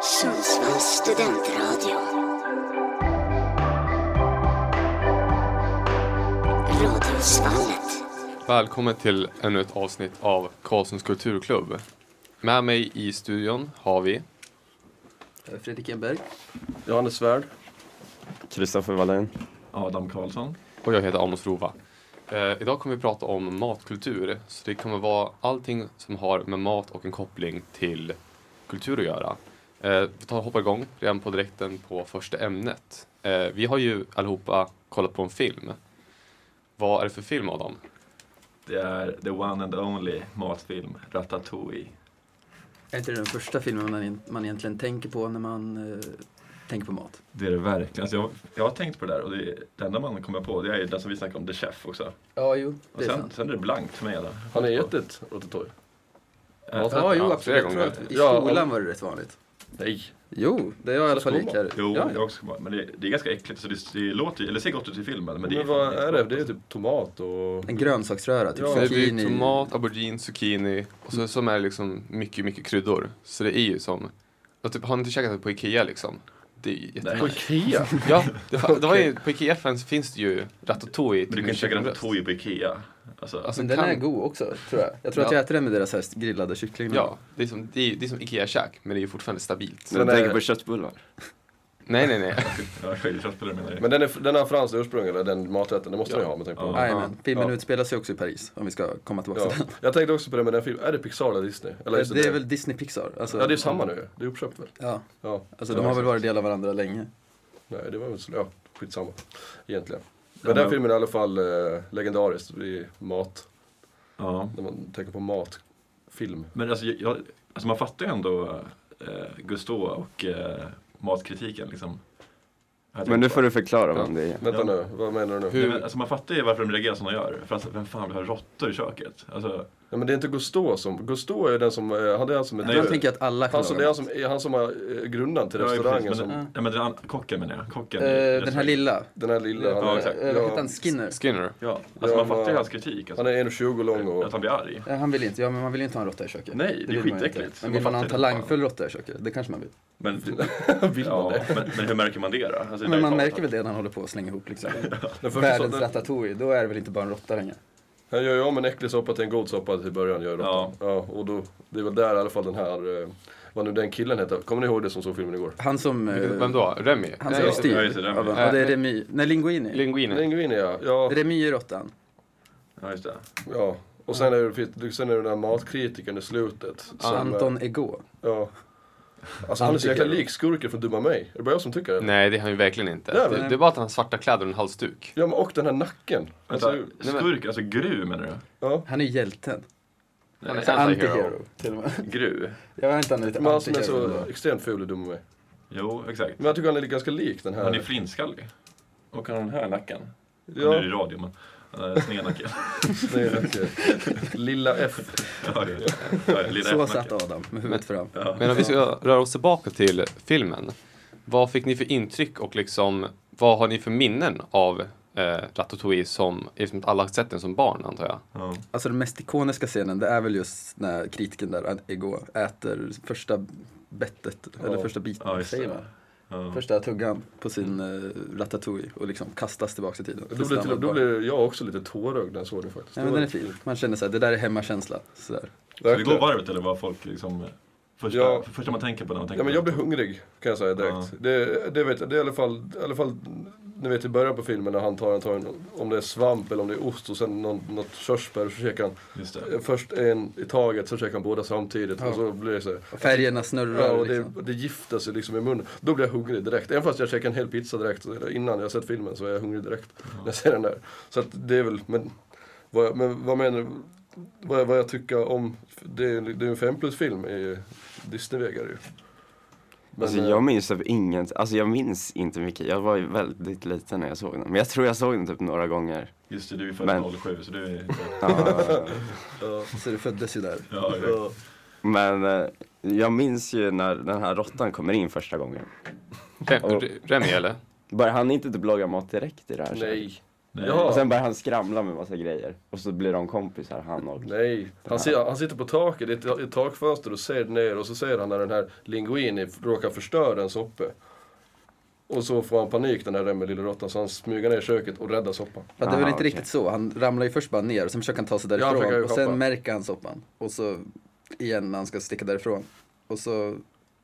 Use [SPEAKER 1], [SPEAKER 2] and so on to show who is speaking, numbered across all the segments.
[SPEAKER 1] Sundsvalls studentradio. Radiosvallet.
[SPEAKER 2] Välkommen till ännu ett avsnitt av Karlssons kulturklubb. Med mig i studion har vi
[SPEAKER 3] Fredrik Enberg.
[SPEAKER 4] Johannes Svärd.
[SPEAKER 5] Kristoffer Wallin.
[SPEAKER 6] Adam Karlsson.
[SPEAKER 2] och jag heter Amos Rova. Eh, idag kommer vi prata om matkultur, så det kommer vara allting som har med mat och en koppling till kultur att göra. Eh, vi tar och hoppar igång redan på direkten på första ämnet. Eh, vi har ju allihopa kollat på en film. Vad är det för film Adam?
[SPEAKER 6] Det är the one and only matfilm Ratatouille.
[SPEAKER 3] Är inte det den första filmen man, en- man egentligen tänker på när man eh, tänker på mat?
[SPEAKER 6] Det är det verkligen. Alltså jag, jag har tänkt på det där och det, är, det enda man kommer på det är ju den som vi snackade om, The Chef också.
[SPEAKER 3] Ja, jo,
[SPEAKER 6] Och sen, sen är det blankt för mig. Då.
[SPEAKER 4] Har ni ätit rototor?
[SPEAKER 3] Ja, jo,
[SPEAKER 2] Ja, flera
[SPEAKER 3] absolut. Jag tror
[SPEAKER 2] gånger.
[SPEAKER 3] att I
[SPEAKER 4] Ja,
[SPEAKER 3] skolan var det rätt vanligt.
[SPEAKER 4] Nej.
[SPEAKER 3] Jo, det har i alla fall gick här.
[SPEAKER 6] Jo,
[SPEAKER 3] ja,
[SPEAKER 6] jag
[SPEAKER 3] ja.
[SPEAKER 6] också kommer- men det, det är ganska äckligt så det, det låter, ju- eller ser gott ut i filmen. Men,
[SPEAKER 4] Men,
[SPEAKER 6] det
[SPEAKER 4] vad är det? Det är
[SPEAKER 6] är
[SPEAKER 4] typ tomat och...
[SPEAKER 3] En grönsaksröra, typ
[SPEAKER 4] Ja,
[SPEAKER 2] Så det blir
[SPEAKER 3] zucchini.
[SPEAKER 2] ju tomat, aubergine, zucchini och så som är det liksom mycket, mycket kryddor. Så det är ju som, jag typ, har ni inte käkat det på Ikea liksom? Det är ju jätte...
[SPEAKER 6] Nej.
[SPEAKER 4] Ikea?
[SPEAKER 2] Ja, det, fa- det var ju, på Ikea finns, finns det ju ratatouille.
[SPEAKER 6] Men du kan ju käka Ratatouille på Ikea. Alltså,
[SPEAKER 2] Alltså,
[SPEAKER 3] Men den
[SPEAKER 2] kan-
[SPEAKER 3] är god också, tror jag. Jag tror att
[SPEAKER 2] Ja.
[SPEAKER 3] jag äter den med deras här grillade kyckling.
[SPEAKER 2] Ja, det är som, det är, det är som Ikea-käk, men det är ju fortfarande stabilt.
[SPEAKER 5] Du
[SPEAKER 4] Men,
[SPEAKER 5] tänker
[SPEAKER 4] eh,
[SPEAKER 5] på köttbullar?
[SPEAKER 2] Nej, nej, nej.
[SPEAKER 6] jag är trött på det menar jag.
[SPEAKER 4] Men den, är, den har franskt ursprung, eller den maträtten, det måste den ju ha med tanke på...
[SPEAKER 6] Ja.
[SPEAKER 3] Jajamän, filmen
[SPEAKER 4] Ja.
[SPEAKER 3] utspelar sig också i Paris, om vi ska komma tillbaka
[SPEAKER 4] Ja.
[SPEAKER 3] till den.
[SPEAKER 4] Jag tänkte också på det med den filmen, är det Pixar eller Disney? Eller
[SPEAKER 3] Det, är väl Disney Pixar? Alltså,
[SPEAKER 4] Ja, det är samma nu Det är uppköpt väl?
[SPEAKER 3] Ja,
[SPEAKER 4] Ja.
[SPEAKER 3] alltså de
[SPEAKER 4] Ja,
[SPEAKER 3] har väl
[SPEAKER 4] exakt.
[SPEAKER 3] varit del av varandra länge.
[SPEAKER 4] Nej, det var väl så, ja, skitsamma. Egentligen. Men
[SPEAKER 6] Ja,
[SPEAKER 4] den
[SPEAKER 6] men-
[SPEAKER 4] filmen är i alla fall eh, legendarisk i mat,
[SPEAKER 6] Ja.
[SPEAKER 4] när man tänker på matfilm.
[SPEAKER 6] Men alltså, jag, alltså man fattar ju ändå eh, Gustav och eh, matkritiken liksom.
[SPEAKER 5] Men nu får du förklara
[SPEAKER 4] Ja.
[SPEAKER 5] vad det är.
[SPEAKER 4] Vänta
[SPEAKER 6] Ja.
[SPEAKER 4] nu, vad menar du nu?
[SPEAKER 2] Hur-
[SPEAKER 6] Nej, men, alltså man fattar ju varför de reagerar som de gör. För alltså, vem fan vill ha råttor i köket? Alltså,
[SPEAKER 4] Ja, men det är inte Gustav som, Gustav är den som, eh, han är han som är
[SPEAKER 6] Nej,
[SPEAKER 3] Jag
[SPEAKER 4] död.
[SPEAKER 3] tänker att alla
[SPEAKER 4] Han som, det är
[SPEAKER 3] laga
[SPEAKER 4] han som, är han som har eh, grundaren till
[SPEAKER 6] ja,
[SPEAKER 4] restaurangen
[SPEAKER 6] precis,
[SPEAKER 4] som,
[SPEAKER 6] men,
[SPEAKER 3] som-
[SPEAKER 6] ja, men den an- kocken menar jag. Kocken,
[SPEAKER 3] mat.
[SPEAKER 6] i
[SPEAKER 3] Eh, Den här
[SPEAKER 6] restaurangen.
[SPEAKER 3] lilla.
[SPEAKER 4] den här lilla, han,
[SPEAKER 6] Ja,
[SPEAKER 4] är-
[SPEAKER 6] exakt.
[SPEAKER 3] Eh, Vad hette han? Skinner?
[SPEAKER 2] Skinner.
[SPEAKER 6] Ja, alltså
[SPEAKER 4] Ja,
[SPEAKER 6] man
[SPEAKER 4] men-
[SPEAKER 6] fattar ju hans kritik. Alltså,
[SPEAKER 4] han är 1,20 lång och...
[SPEAKER 6] Att han blir arg.
[SPEAKER 3] Ja, Han vill inte, ja men man vill ju inte ha en råtta i köket.
[SPEAKER 6] Nej, det är
[SPEAKER 3] vill man ju inte.
[SPEAKER 6] skitäckligt.
[SPEAKER 3] Men
[SPEAKER 6] Man
[SPEAKER 3] vill man ha en
[SPEAKER 6] fattar inte
[SPEAKER 3] talangfull råtta i köket? Det kanske man vill.
[SPEAKER 6] Men,
[SPEAKER 4] Vill man
[SPEAKER 6] ja, men, men hur märker man det då? Alltså, det är
[SPEAKER 3] Men man
[SPEAKER 6] klart
[SPEAKER 3] märker
[SPEAKER 6] att-
[SPEAKER 3] väl det när han håller på att slänga ihop liksom.
[SPEAKER 4] Den första
[SPEAKER 3] Världens
[SPEAKER 4] sorten,
[SPEAKER 3] ratatouille, då är det väl inte bara en råtta längre?
[SPEAKER 4] han gör ju om en äcklig soppa till en god soppa till början. Gör ja.
[SPEAKER 6] Ja.
[SPEAKER 4] ja, och då, det är väl där i alla fall den här, eh, vad nu den killen heter, kommer ni ihåg det som såg filmen igår?
[SPEAKER 3] Han som... eh,
[SPEAKER 2] Vem då? Remy?
[SPEAKER 3] Han
[SPEAKER 2] Nej,
[SPEAKER 3] som är
[SPEAKER 6] just det. Ja, just
[SPEAKER 3] styrd.
[SPEAKER 6] det, Remy.
[SPEAKER 3] av- Ja, det är
[SPEAKER 2] Eh,
[SPEAKER 3] Remy. Nej, Linguini.
[SPEAKER 2] Linguine.
[SPEAKER 4] Pingvin ja. ja,
[SPEAKER 3] Remy är råttan.
[SPEAKER 6] Ja, just det.
[SPEAKER 4] ja. Och sen är, det, fit- sen är det den där matkritiken i slutet. som, eh,
[SPEAKER 3] Anton Ego.
[SPEAKER 4] Ja. Alltså han är så jäkla lik skurken från Dumma mig. Är det bara jag som tycker det?
[SPEAKER 2] Nej, det är han ju verkligen inte.
[SPEAKER 4] Nej, men-
[SPEAKER 2] Det, det är bara att han har svarta kläder och en halsduk.
[SPEAKER 4] Ja, men och den här nacken.
[SPEAKER 6] Vänta,
[SPEAKER 4] Alltså,
[SPEAKER 2] men-
[SPEAKER 6] skurk, alltså Gru menar du?
[SPEAKER 4] ja.
[SPEAKER 3] Han är ju hjälten.
[SPEAKER 2] Han är
[SPEAKER 3] Så
[SPEAKER 2] anti-hero.
[SPEAKER 3] Antihero till och med.
[SPEAKER 6] Gru?
[SPEAKER 3] Jag vet inte, han är lite
[SPEAKER 4] Men han som är så
[SPEAKER 3] antihero.
[SPEAKER 4] extremt ful i Dumma mig.
[SPEAKER 6] Jo, exakt.
[SPEAKER 4] Men jag tycker han är ganska lik den här.
[SPEAKER 6] Han är flintskallig. Och han har den här nacken. Ja. Nu är det
[SPEAKER 4] ja,
[SPEAKER 6] radio, men eh, snednacken.
[SPEAKER 4] det är nacken. Lilla F.
[SPEAKER 6] Ja, ja, ja. Lilla
[SPEAKER 3] Så
[SPEAKER 6] F-nacken.
[SPEAKER 3] satt Adam med huvudet fram.
[SPEAKER 2] Men om vi ska röra oss tillbaka till filmen. Vad fick ni för intryck och liksom, vad har ni för minnen av eh, Ratatouille som, eftersom att alla har sett den som barn antar jag?
[SPEAKER 6] Ja.
[SPEAKER 3] Alltså den mest ikoniska scenen, det är väl just när kritiken där, Ego, äter första bettet, eller första biten,
[SPEAKER 6] Ja, just
[SPEAKER 3] säger
[SPEAKER 6] det.
[SPEAKER 3] man.
[SPEAKER 6] Ja.
[SPEAKER 3] Första tuggan på sin eh, ratatouille och liksom kastas tillbaka i tiden.
[SPEAKER 4] Mm. Då blev, till, då blev jag också lite tårögd när jag såg det faktiskt.
[SPEAKER 3] Nej, men den är fin. Man känner såhär, det där är hemmakänsla. Sådär.
[SPEAKER 6] Ska vi gå varvet eller vad folk liksom... Första,
[SPEAKER 4] Ja.
[SPEAKER 6] första man tänker på när man tänker
[SPEAKER 4] Ja, men
[SPEAKER 6] på
[SPEAKER 4] jag blir hungrig kan jag säga direkt.
[SPEAKER 6] Ja.
[SPEAKER 4] Det, det, vet, jag- det är i alla fall, i alla fall ni vet i början på filmen när han tar, han tar en, om det är svamp eller om det är ost och sen någon, något körsbär så käkar han
[SPEAKER 6] Just
[SPEAKER 4] eh,
[SPEAKER 6] det.
[SPEAKER 4] först en i taget, så käkar han båda samtidigt
[SPEAKER 3] Ja.
[SPEAKER 4] och så blir det så här,
[SPEAKER 3] Färgerna snurrar
[SPEAKER 4] Ja, och det,
[SPEAKER 3] liksom.
[SPEAKER 4] det gifter sig liksom i munnen. Då blir jag hungrig direkt. Även fast jag käkar en hel pizza direkt eller innan jag sett filmen så är jag hungrig direkt när jag ser den där. Så att det är väl, men vad, jag- men vad menar du? Vad, jag- vad jag tycker om, det är, det är en 5 plus film i Disneyvägar ju. Men,
[SPEAKER 5] Alltså
[SPEAKER 4] eh,
[SPEAKER 5] jag minns typ inget, alltså jag minns inte mycket. Jag var ju väldigt liten när jag såg den. Men jag tror jag såg den typ några gånger.
[SPEAKER 6] Just det, du är född
[SPEAKER 5] Men-
[SPEAKER 6] 07 så du är...
[SPEAKER 5] Ja,
[SPEAKER 3] Så det föddes ju där.
[SPEAKER 6] Ja, exakt.
[SPEAKER 4] ja.
[SPEAKER 5] men eh, jag minns ju när den här råttan kommer in första gången.
[SPEAKER 2] Re- Re- Remy eller?
[SPEAKER 5] Bara han inte typ lagar mat direkt i det här. så här.
[SPEAKER 4] Nej.
[SPEAKER 6] Nej.
[SPEAKER 4] Jaha.
[SPEAKER 5] Och sen börjar han skramla med massa grejer. Och så blir de kompisar, han och...
[SPEAKER 4] Nej, han, ser, han sitter på taket, det är ett, ett takfönster och ser ner och så ser han när den här linguini råkar förstöra en soppe. Och så får han panik den här Remmel lille råttan så han smyger ner i köket och räddar soppan.
[SPEAKER 3] Ja, det var
[SPEAKER 5] Aha,
[SPEAKER 3] inte
[SPEAKER 5] okej.
[SPEAKER 3] riktigt så. Han ramlar ju först bara ner och sen försöker han ta sig
[SPEAKER 4] Ja, han
[SPEAKER 3] därifrån.
[SPEAKER 4] försöker
[SPEAKER 3] och sen
[SPEAKER 4] hoppa.
[SPEAKER 3] märker han soppan. Och så igen när han ska sticka därifrån. Och så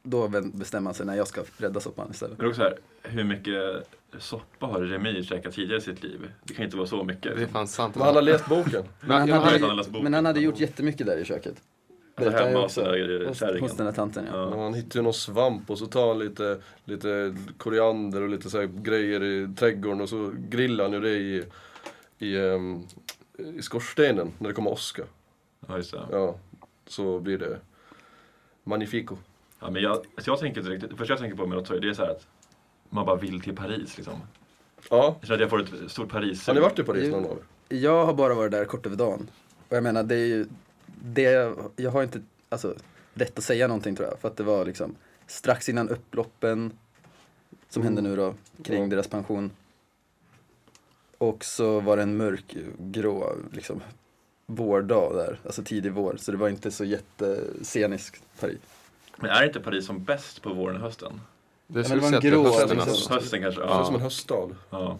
[SPEAKER 3] då vä- bestämmer han sig när jag ska rädda soppan istället.
[SPEAKER 6] Men också här, hur mycket soppa har Remy käkat tidigare i sitt liv? Det kan inte vara så mycket.
[SPEAKER 2] Det är fan sant.
[SPEAKER 4] Men han har läst boken.
[SPEAKER 2] Men
[SPEAKER 3] han
[SPEAKER 2] jag-
[SPEAKER 6] hade-
[SPEAKER 2] jag-
[SPEAKER 6] vet att han läst
[SPEAKER 3] hade,
[SPEAKER 6] boken.
[SPEAKER 3] men han hade gjort jättemycket där i köket.
[SPEAKER 6] Alltså
[SPEAKER 3] vet han ju
[SPEAKER 6] hemma hos
[SPEAKER 3] också.
[SPEAKER 6] den där
[SPEAKER 3] Hos, hos den
[SPEAKER 6] kärringen.
[SPEAKER 3] här tanten ja.
[SPEAKER 4] Och Han hittar ju någon svamp och så tar han lite, lite koriander och lite så här grejer i trädgården och så grillar han ju det i, i, ehm, i skorstenen när det kommer åska.
[SPEAKER 6] Ja, just det.
[SPEAKER 4] Ja, så blir det magnifico.
[SPEAKER 6] Ja, men jag, alltså jag tänker inte riktigt, det första jag tänker på med Rotoy, det är så här att man bara vill till Paris liksom.
[SPEAKER 4] Ja,
[SPEAKER 6] Jag känner att jag får ett stort Paris.
[SPEAKER 4] har ni varit i Paris någon
[SPEAKER 3] Det-
[SPEAKER 4] av er?
[SPEAKER 3] Jag har bara varit där kort över dagen. Och jag menar, det är ju, det, jag har inte alltså, rätt att säga någonting tror jag. För att det var liksom strax innan upploppen som hände nu då, kring
[SPEAKER 4] Ja.
[SPEAKER 3] deras pension. Och så var det en mörkgrå liksom, vårdag där, alltså tidig vår. Så det var inte så jättesceniskt Paris.
[SPEAKER 6] Men är inte Paris som bäst på våren och hösten?
[SPEAKER 2] Det
[SPEAKER 3] men
[SPEAKER 2] skulle
[SPEAKER 3] det var
[SPEAKER 2] säga
[SPEAKER 3] en
[SPEAKER 2] att det är hösten alltså.
[SPEAKER 3] grå- liksom.
[SPEAKER 6] Hösten kanske?
[SPEAKER 4] Det ser ut som en
[SPEAKER 6] Ja.
[SPEAKER 4] höststad.
[SPEAKER 6] ja.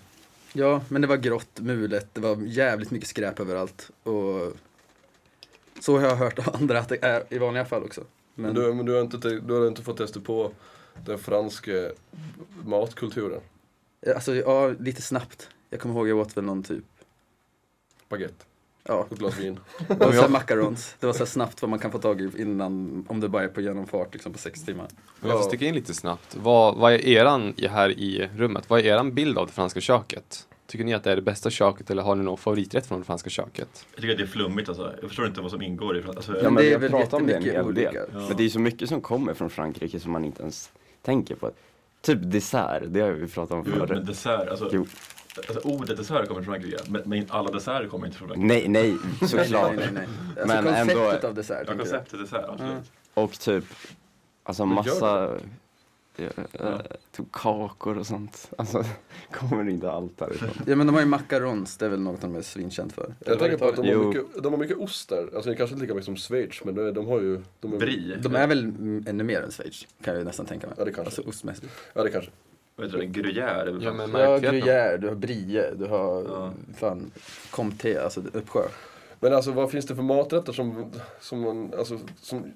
[SPEAKER 3] Ja, men det var grått, mulet, det var jävligt mycket skräp överallt. Och så har jag hört av andra att det är i vanliga fall också.
[SPEAKER 4] Men du, men du, har inte, te- du har inte fått testa på den franska matkulturen?
[SPEAKER 3] Alltså, ja, lite snabbt. Jag kommer ihåg jag åt väl någon typ,
[SPEAKER 4] Baguette
[SPEAKER 3] ja,
[SPEAKER 4] och ett glas vin.
[SPEAKER 3] och så här macarons. Det var så här snabbt vad man kan få tag i innan, om det bara är på genomfart liksom på sex timmar.
[SPEAKER 2] Men jag får sticka in lite snabbt. Vad, vad är eran i- här i rummet? Vad är eran bild av det franska köket? Tycker ni att det är det bästa köket eller har ni någon favoriträtt från det franska köket?
[SPEAKER 6] Jag tycker att det är flummigt alltså. Jag förstår inte vad som ingår i alltså,
[SPEAKER 3] Ja,
[SPEAKER 5] Ja,
[SPEAKER 3] det
[SPEAKER 5] men vi
[SPEAKER 3] är
[SPEAKER 5] har
[SPEAKER 3] väl
[SPEAKER 5] pratat om det en hel
[SPEAKER 3] jättemycket
[SPEAKER 5] del.
[SPEAKER 3] olika.
[SPEAKER 6] Ja.
[SPEAKER 5] Men det är ju så mycket som kommer från Frankrike som man inte ens tänker på. Typ dessert, det har vi pratat om
[SPEAKER 6] Jo, men
[SPEAKER 5] förr.
[SPEAKER 6] dessert, alltså,
[SPEAKER 5] Jo.
[SPEAKER 6] alltså ordet dessert kommer från Frankrike, men, men alla desserter kommer inte från Frankrike.
[SPEAKER 5] Nej, nej, såklart.
[SPEAKER 3] Nej, nej, nej. Alltså
[SPEAKER 5] Men
[SPEAKER 3] konceptet
[SPEAKER 5] ändå-
[SPEAKER 3] av dessert.
[SPEAKER 6] Ja,
[SPEAKER 3] tänker jag.
[SPEAKER 6] konceptet dessert, absolut.
[SPEAKER 3] Mm.
[SPEAKER 5] Och typ, alltså
[SPEAKER 4] Men gör
[SPEAKER 5] massa eh, typ kakor och sånt. Alltså, kommer inte allt därifrån.
[SPEAKER 3] Ja, men de har ju macarons, det är väl något de är svinkänt för.
[SPEAKER 4] Jag tänker på att de har,
[SPEAKER 5] Jo.
[SPEAKER 4] mycket, de har mycket ost där. Alltså det är kanske inte lika mycket som Schweiz, men de, de har ju... De är,
[SPEAKER 6] Brie,
[SPEAKER 3] De är väl mm, ännu mer än Schweiz, kan jag ju nästan tänka mig.
[SPEAKER 4] Ja, det kanske.
[SPEAKER 3] Alltså ostmässigt.
[SPEAKER 4] Ja, det kanske.
[SPEAKER 6] vad heter det, gruyère? eller
[SPEAKER 2] Ja,
[SPEAKER 6] vad
[SPEAKER 2] men
[SPEAKER 6] fan?
[SPEAKER 3] Du har
[SPEAKER 2] Märkligheten.
[SPEAKER 3] gruyère, du har brie, du har
[SPEAKER 6] Ja.
[SPEAKER 3] fan comté, alltså uppsjö.
[SPEAKER 4] Men alltså vad finns det för maträtter som... som, man, alltså, som